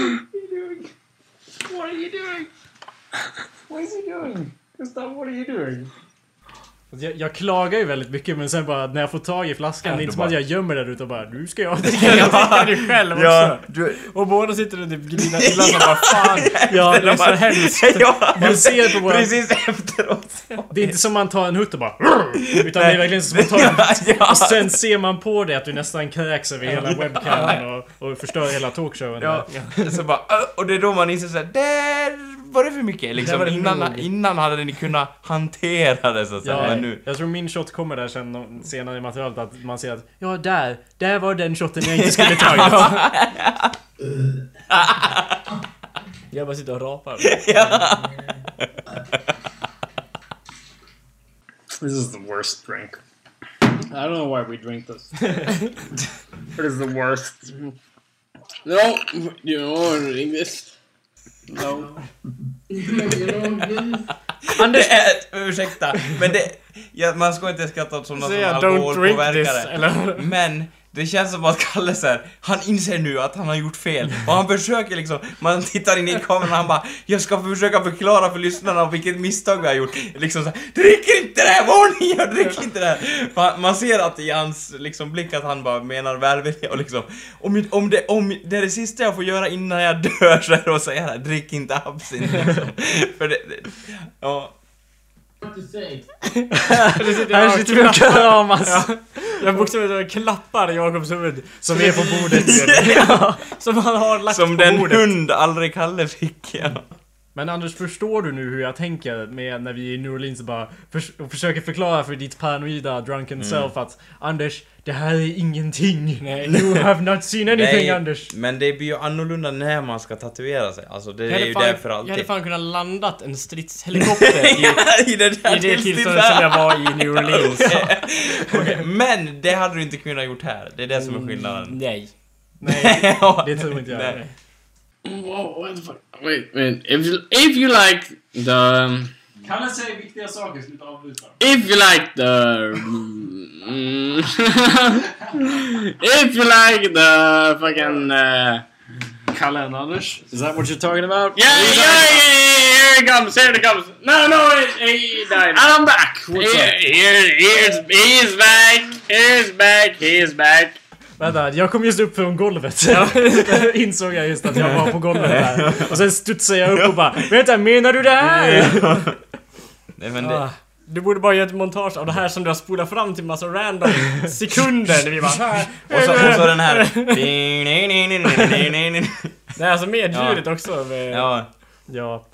Speaker 7: you doing? What is he doing? Gustav, what are you doing?
Speaker 1: Jag, jag klagar ju väldigt mycket men sen bara när jag får tag i flaskan, det är inte som att jag gömmer den utan bara nu ska jag dricka.
Speaker 3: Jag dricker det själv också.
Speaker 2: Ja, du,
Speaker 3: Och båda sitter och typ grinar illa som bara fan. Ja, det är så hemskt.
Speaker 2: ja,
Speaker 1: Man ser på våra...
Speaker 2: precis efteråt.
Speaker 1: Det är inte som man tar en hutt och bara Utan det är verkligen som att man tar en...
Speaker 2: Ja.
Speaker 1: Och sen ser man på det att du nästan kräks över hela webcamen och, och förstör hela talkshowen.
Speaker 2: Ja, så bara, "Ö", och det är då man inser såhär, där var det för mycket
Speaker 3: Där var
Speaker 2: liksom.
Speaker 3: det
Speaker 2: Innan,
Speaker 3: nog.
Speaker 2: innan hade ni kunnat hantera det så att säga.
Speaker 1: Ja,
Speaker 2: Men nu.
Speaker 1: jag tror min shot kommer där sen no- senare i materialet att man ser att ja där, där var den shoten jag inte skulle tagit.
Speaker 3: Jag bara sitter och rapar.
Speaker 7: This is the worst drink. I don't know why we drink this. it is the worst. No, you don't want to drink this. No. you don't drink this.
Speaker 2: Anders! Det är, ursäkta, men det, ja, man ska inte skratta åt sådana Alltså, som
Speaker 1: Säga don't drink this
Speaker 2: alkoholpåverkare.
Speaker 1: eller?
Speaker 2: Men det känns som att Kalle så här, han inser nu att han har gjort fel och han försöker liksom, man tittar in i kameran och han bara Jag ska försöka förklara för lyssnarna vilket misstag vi har gjort. Liksom så här, drick inte det här! Varning! Jag drick inte det här! Man, man ser att i hans liksom, blick att han bara menar välvilja och liksom om, om, det, om det är det sista jag får göra innan jag dör så är det att säga det här, drick inte absint liksom. För det, det, ja.
Speaker 1: Här sitter vi och kramas.
Speaker 3: Jag bokstavligen klappar Jakobs huvud.
Speaker 1: Som är på bordet. ju.
Speaker 3: Som han har lagt
Speaker 2: Som
Speaker 3: på
Speaker 2: den
Speaker 3: bordet.
Speaker 2: hund aldrig Kalle fick. Ja.
Speaker 1: Men Anders, förstår du nu hur jag tänker med när vi är i New Orleans och bara förs- och försöker förklara för ditt paranoida drunken
Speaker 2: Mm.
Speaker 1: self att Anders, det här är ingenting. You have not seen anything Anders.
Speaker 2: men det blir ju annorlunda när man ska tatuera sig. Alltså det
Speaker 3: Jag
Speaker 2: är
Speaker 3: hade
Speaker 2: ju
Speaker 3: fan-
Speaker 2: där för
Speaker 3: Jag hade
Speaker 2: alltid.
Speaker 3: fan kunnat landat en stridshelikopter i,
Speaker 2: I det där
Speaker 3: i det tillståndet som jag var i New Orleans.
Speaker 2: Okej, Men det hade du inte kunnat gjort här. Det är det som är skillnaden.
Speaker 3: Nej.
Speaker 1: Nej, det tror inte jag.
Speaker 2: Nej.
Speaker 7: Whoa, what the fuck? Wait, wait. If you, if you like the... um,
Speaker 13: Kalle säger viktiga saker, sluta avbryta.
Speaker 7: If you like the... Mm, if you like the fucking... Uh,
Speaker 12: Kalle and Anders? Is that what you're talking about?
Speaker 7: yeah, yeah, yeah, here it comes, here it comes. No, no, he, he died. I'm back. Here, here, here's, he's back, he's back, he's back.
Speaker 1: Vänta, jag kom just upp från golvet. Insåg jag just att jag var på golvet där. Och sen studsade jag upp och bara Vänta, menar du det här?
Speaker 2: Nej, men
Speaker 3: Ah, Du borde bara göra ett montage av det här som du har spolat fram till massa random sekunder. Där vi bara...
Speaker 2: Och så, och så den här...
Speaker 3: Nej, alltså med
Speaker 2: Ja.
Speaker 3: ljudet också. Med...
Speaker 2: Ja,
Speaker 1: Ja.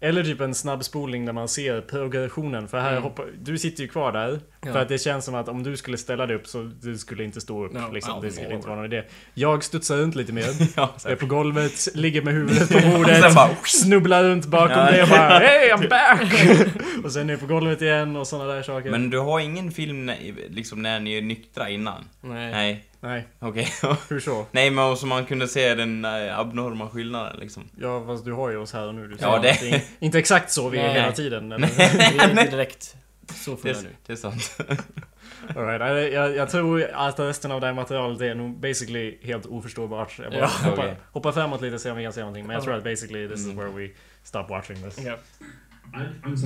Speaker 1: Eller typ en snabbspolning där man ser progressionen. För här hoppar, du sitter ju kvar där. För att det känns som att om du skulle ställa dig upp så du skulle inte stå upp.
Speaker 3: Ja,
Speaker 1: liksom.
Speaker 3: ja,
Speaker 1: det skulle inte vara någon idé. Jag studsar runt lite mer.
Speaker 2: Ja,
Speaker 1: är på golvet, ligger med huvudet på bordet.
Speaker 2: sen bara-
Speaker 1: snubblar runt bakom
Speaker 2: Ja.
Speaker 1: det och bara Hey I'm back! och sen är jag på golvet igen och sådana där saker.
Speaker 2: men du har ingen film när, liksom när ni är nyktra innan?
Speaker 3: Nej.
Speaker 2: Nej,
Speaker 1: Nej,
Speaker 2: okej.
Speaker 1: hur så?
Speaker 2: Nej men som man kunde se den eh, abnorma skillnaden liksom.
Speaker 1: Ja fast du har ju oss här och nu. Du
Speaker 2: Ja, det-
Speaker 1: inte, inte exakt så vi är
Speaker 3: Nej.
Speaker 1: hela tiden. eller?
Speaker 3: Vi är inte direkt så
Speaker 2: Det,
Speaker 3: fulla
Speaker 2: är-
Speaker 3: nu.
Speaker 2: det är sant.
Speaker 1: All right. jag, jag, jag tror att resten av det här materialet är nog basically helt oförståbart. Jag bara
Speaker 3: Ja.
Speaker 1: hoppar,
Speaker 2: Okej.
Speaker 1: hoppar framåt lite och ser om vi kan se någonting. Men jag tror att basically this is
Speaker 3: Mm.
Speaker 1: where we stop watching this.
Speaker 3: Ja.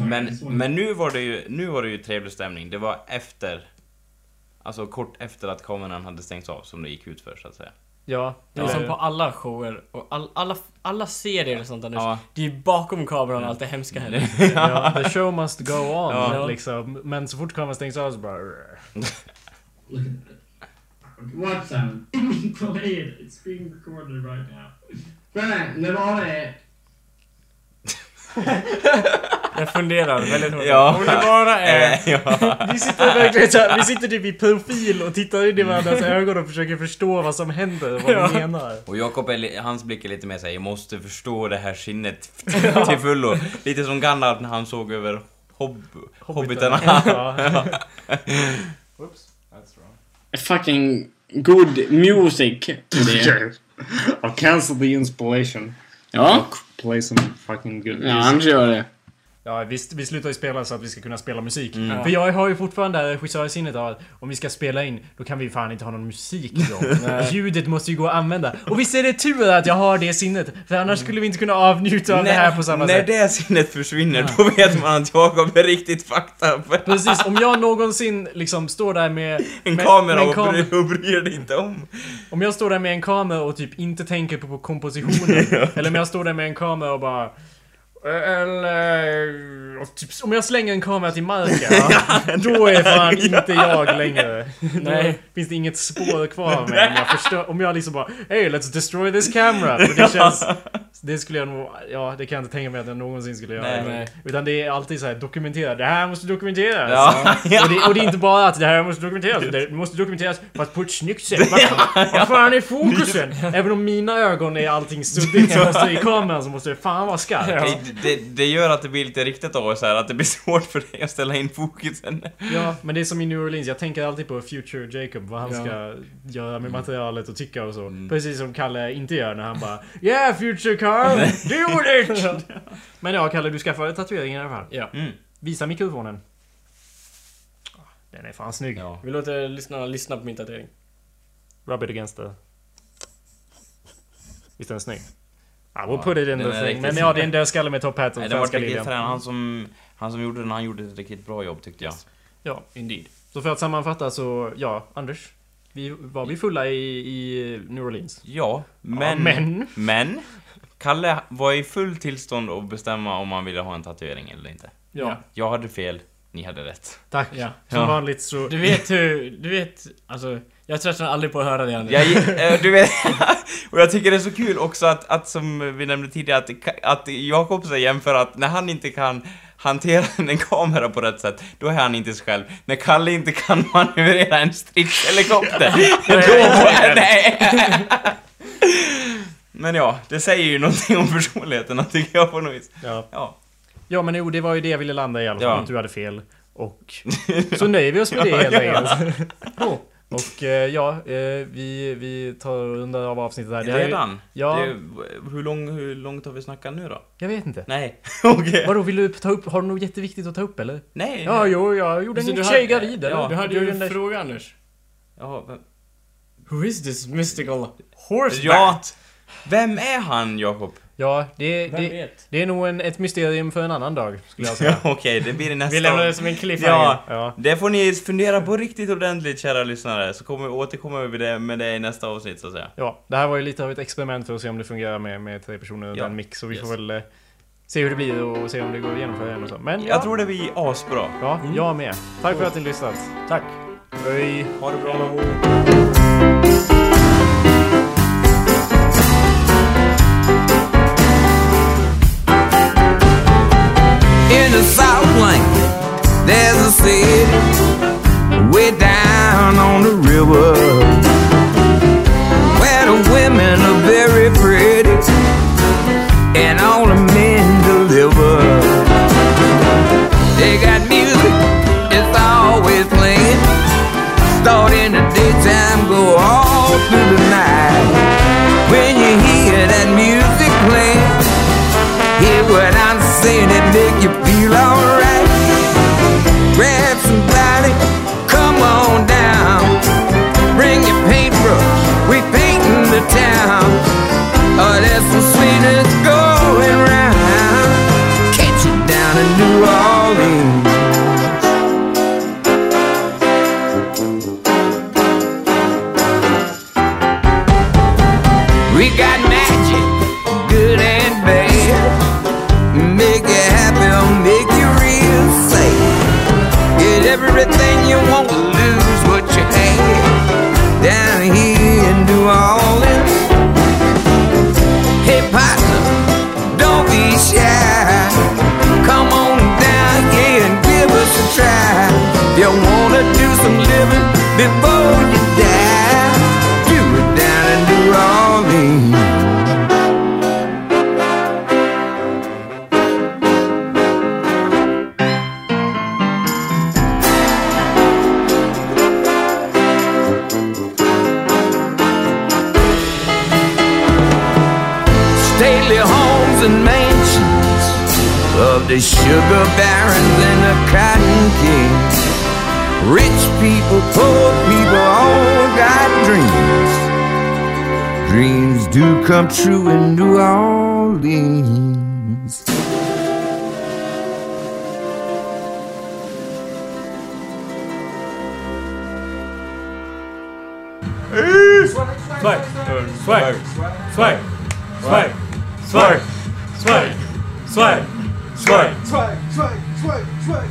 Speaker 2: Men, men nu, var det ju, nu var det ju trevlig stämning. Det var efter... Alltså kort efter att kameran hade stängts av som det gick ut för så att säga.
Speaker 1: Ja,
Speaker 3: Det är
Speaker 2: eh.
Speaker 3: som på alla shower och all, alla, alla serier och sånt där nu.
Speaker 2: Ja.
Speaker 3: Det är ju bakom kameran allt det hemska händer.
Speaker 1: ja, the show must go on.
Speaker 3: Ja.
Speaker 1: Liksom. Men så fort kameran stängs av så bara...
Speaker 14: Look at that. What sound? Play it. It's being recorded right now. Bang! Det var det.
Speaker 3: Jag funderar väldigt hårt.
Speaker 2: Ja.
Speaker 3: Om det bara är...
Speaker 2: Eh, ja.
Speaker 1: Vi sitter verkligen så här, vi sitter typ i profil och tittar in i varandras ögon och försöker förstå vad som händer och vad vi menar.
Speaker 2: Och Jakob, är li- hans blick är lite mer såhär, jag måste förstå det här sinnet till fullo. Lite som Gandalf när han såg över hob hobbitarna.
Speaker 1: Ja.
Speaker 7: fucking good music today.
Speaker 6: I'll cancel the inspiration.
Speaker 7: ja,
Speaker 6: Play some fucking good
Speaker 7: ja,
Speaker 6: music.
Speaker 7: annars gör jag det.
Speaker 1: Ja, vi, vi slutar ju spela så att vi ska kunna spela musik.
Speaker 2: Mm.
Speaker 1: För jag har ju fortfarande det här regissörsinnet av att om vi ska spela in, då kan vi fan inte ha någon musik då. Ljudet måste ju gå att använda. Och visst är det tur att jag har det sinnet, för annars skulle vi inte kunna avnjuta av det här på samma
Speaker 2: när
Speaker 1: sätt.
Speaker 2: Mm. det sinnet försvinner, då vet man att Jakob är riktigt fucked up.
Speaker 1: Precis, om jag någonsin liksom står där med...
Speaker 2: En
Speaker 1: med,
Speaker 2: kamera
Speaker 1: med en
Speaker 2: och,
Speaker 1: kam-
Speaker 2: bry- och bryr dig inte om.
Speaker 1: Om jag står där med en kamera och typ inte tänker på, på kompositionen. Eller om jag står där med en kamera och bara... Eller... Och typ, om jag slänger en kamera till marken. då är fan inte jag längre. Nej. Då finns det inget spår kvar av mig om jag förstör... Om jag liksom bara... Hey, let's destroy this camera. För det känns... Det skulle jag nog... Ja, det kan jag inte tänka mig att jag någonsin skulle göra.
Speaker 2: Nej,
Speaker 3: nej.
Speaker 1: Utan det är alltid så här dokumentera. Det här måste dokumenteras.
Speaker 2: Ja,
Speaker 1: Och, det, och det är inte bara att det här måste dokumenteras, det måste dokumenteras fast på ett snyggt sätt. Vad fan- Vad fan är fokusen? Även om mina ögon är allting suddigt så måste i kameran så måste det fan vara skarpt.
Speaker 2: Det, det, det gör att det blir lite riktigt av så här, att det blir svårt för dig att ställa in fokusen.
Speaker 1: Ja, men det är som i New Orleans, jag tänker alltid på Future Jacob, vad han ska göra med materialet och tycka och så. Precis som Kalle inte gör när han bara Yeah Future Carl, do it! Men ja Kalle, du skaffade tatueringen i alla fall.
Speaker 3: Ja.
Speaker 2: Mm.
Speaker 1: Visa mikrofonen. Den är fan snygg.
Speaker 2: Ja.
Speaker 3: Vi låter lyssnarna lyssna på min tatuering.
Speaker 1: Rub it against the... Visst är den snygg? I will put it in
Speaker 2: den
Speaker 1: the
Speaker 2: är
Speaker 1: thing.
Speaker 2: riktigt
Speaker 1: Men
Speaker 2: snygg.
Speaker 1: ja, det är en dödskalle med top hat och
Speaker 2: Nej, det var
Speaker 1: svenska
Speaker 2: riktigt
Speaker 1: liljan.
Speaker 2: frän. Han som, han som gjorde den, han gjorde ett riktigt bra jobb tyckte jag.
Speaker 1: Ja, indeed. Så för att sammanfatta så, ja, Anders. Vi, var vi fulla i, i New Orleans?
Speaker 2: Ja, men...
Speaker 1: Ja, men.
Speaker 2: men Kalle var i full tillstånd att bestämma om han ville ha en tatuering eller inte.
Speaker 1: Ja.
Speaker 2: Jag hade fel, ni hade rätt.
Speaker 1: Tack.
Speaker 3: Ja.
Speaker 1: Som
Speaker 2: Ja.
Speaker 1: vanligt så...
Speaker 3: Du vet hur... Du vet... Alltså... Jag tröttnar aldrig på att höra det Anders.
Speaker 2: Jag, eh, du vet, och jag tycker det är så kul också att, att som vi nämnde tidigare, att, Ka- att Jakob så jämför att när han inte kan hantera en kamera på rätt sätt, då är han inte sig själv. När Kalle inte kan manövrera en stridshelikopter, då... Nej! Men ja, det säger ju någonting om personligheterna tycker jag på något vis.
Speaker 1: Ja.
Speaker 2: Ja.
Speaker 1: ja, men jo, det var ju det jag ville landa i alla fall.
Speaker 2: Ja.
Speaker 1: Att Du hade fel. Och så nöjer vi oss med det helt enkelt. Ja. Och eh, ja, eh, vi, vi tar och rundar av avsnittet här. Det här är ju-
Speaker 2: Redan?
Speaker 1: Ja.
Speaker 2: Det är- hur, lång, hur långt har vi snackat nu då?
Speaker 1: Jag vet inte.
Speaker 2: Nej, okej.
Speaker 1: Vadå, vill du ta upp? Har du något jätteviktigt att ta upp eller?
Speaker 2: Nej.
Speaker 1: Ja, jo, jag gjorde
Speaker 3: Så
Speaker 1: en
Speaker 3: du
Speaker 1: tjej
Speaker 3: hade-
Speaker 1: gravid eller?
Speaker 2: ja,
Speaker 3: Du hade
Speaker 1: Jag
Speaker 3: ju
Speaker 1: gjorde
Speaker 3: en
Speaker 1: en-
Speaker 3: fråga Anders.
Speaker 2: Ja, vem-
Speaker 3: Who is this mystical horseback?
Speaker 2: ja. Vem är han, Jakob?
Speaker 1: Ja, det,
Speaker 3: Vem
Speaker 1: det,
Speaker 3: vet?
Speaker 1: det är nog en, ett mysterium för en annan dag, skulle jag
Speaker 8: Ja,
Speaker 1: säga.
Speaker 8: Okej, det blir det nästa
Speaker 3: Vi lämnar
Speaker 8: gång.
Speaker 3: det som en cliffhanger.
Speaker 8: Ja,
Speaker 1: Ja.
Speaker 8: det får ni fundera på riktigt ordentligt kära lyssnare, så kommer, återkommer vi det- med det i nästa avsnitt så att säga.
Speaker 1: Ja, det här var ju lite av ett experiment för att se om det fungerar med, med tre personer och
Speaker 8: Ja.
Speaker 1: en mix. Så vi
Speaker 8: Yes.
Speaker 1: får väl eh, se hur det blir och se om det går att genomföra än och så. Men ja,
Speaker 8: Jag tror det blir asbra.
Speaker 1: ja, jag med. Tack för att ni lyssnat. Tack. Hej.
Speaker 8: Ha det bra.
Speaker 15: In the South Blanket, there's a city way down on the river where the women are very pretty and all the men deliver. They got music, it's always playing. Start in the daytime, go all through the night. When you hear that music playing, Hear what I'm saying and make you feel alright. Grab somebody, come on down. Bring your paintbrush, we painting the town. Oh, there's some sweetness going round. Catch you down in New Orleans. We got magic, good and bad. Make you happy or make you real sad. Get everything you want, lose what you had. Down here in New Orleans. Hey partner, don't be shy. Come on down here and give us a try. You wanna do some living before you die? Do it down in New Orleans. stately homes and mansions of the sugar barons and the cotton kings. Rich people, poor people, all got dreams. Dreams do come true in New Orleans.
Speaker 3: Swag! Swag! Swag! Swag! Swag! Swag! Swag!
Speaker 16: Swag, swag, swag, swag.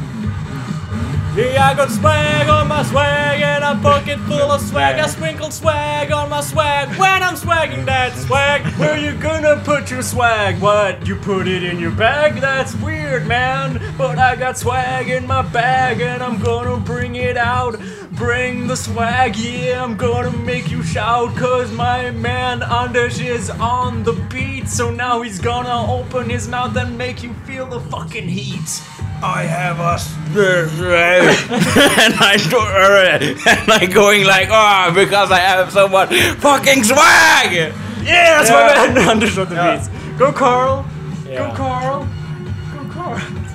Speaker 3: Yeah, I got swag on my swag and a pocket full of swag. I sprinkled swag on my swag when I'm swagging that swag. Where you gonna put your swag? What? You put it in your bag? That's weird, man. But I got swag in my bag and I'm gonna bring it out. Bring the swag, yeah, I'm gonna make you shout. Cause my man Anders is on the beat. So now he's gonna open his mouth and make you feel the fucking heat.
Speaker 8: I have a spirit and I do and I'm going like ah because I have so much fucking swag.
Speaker 3: Yeah, that's my man. Anders on the beats. Go Carl. Go Carl.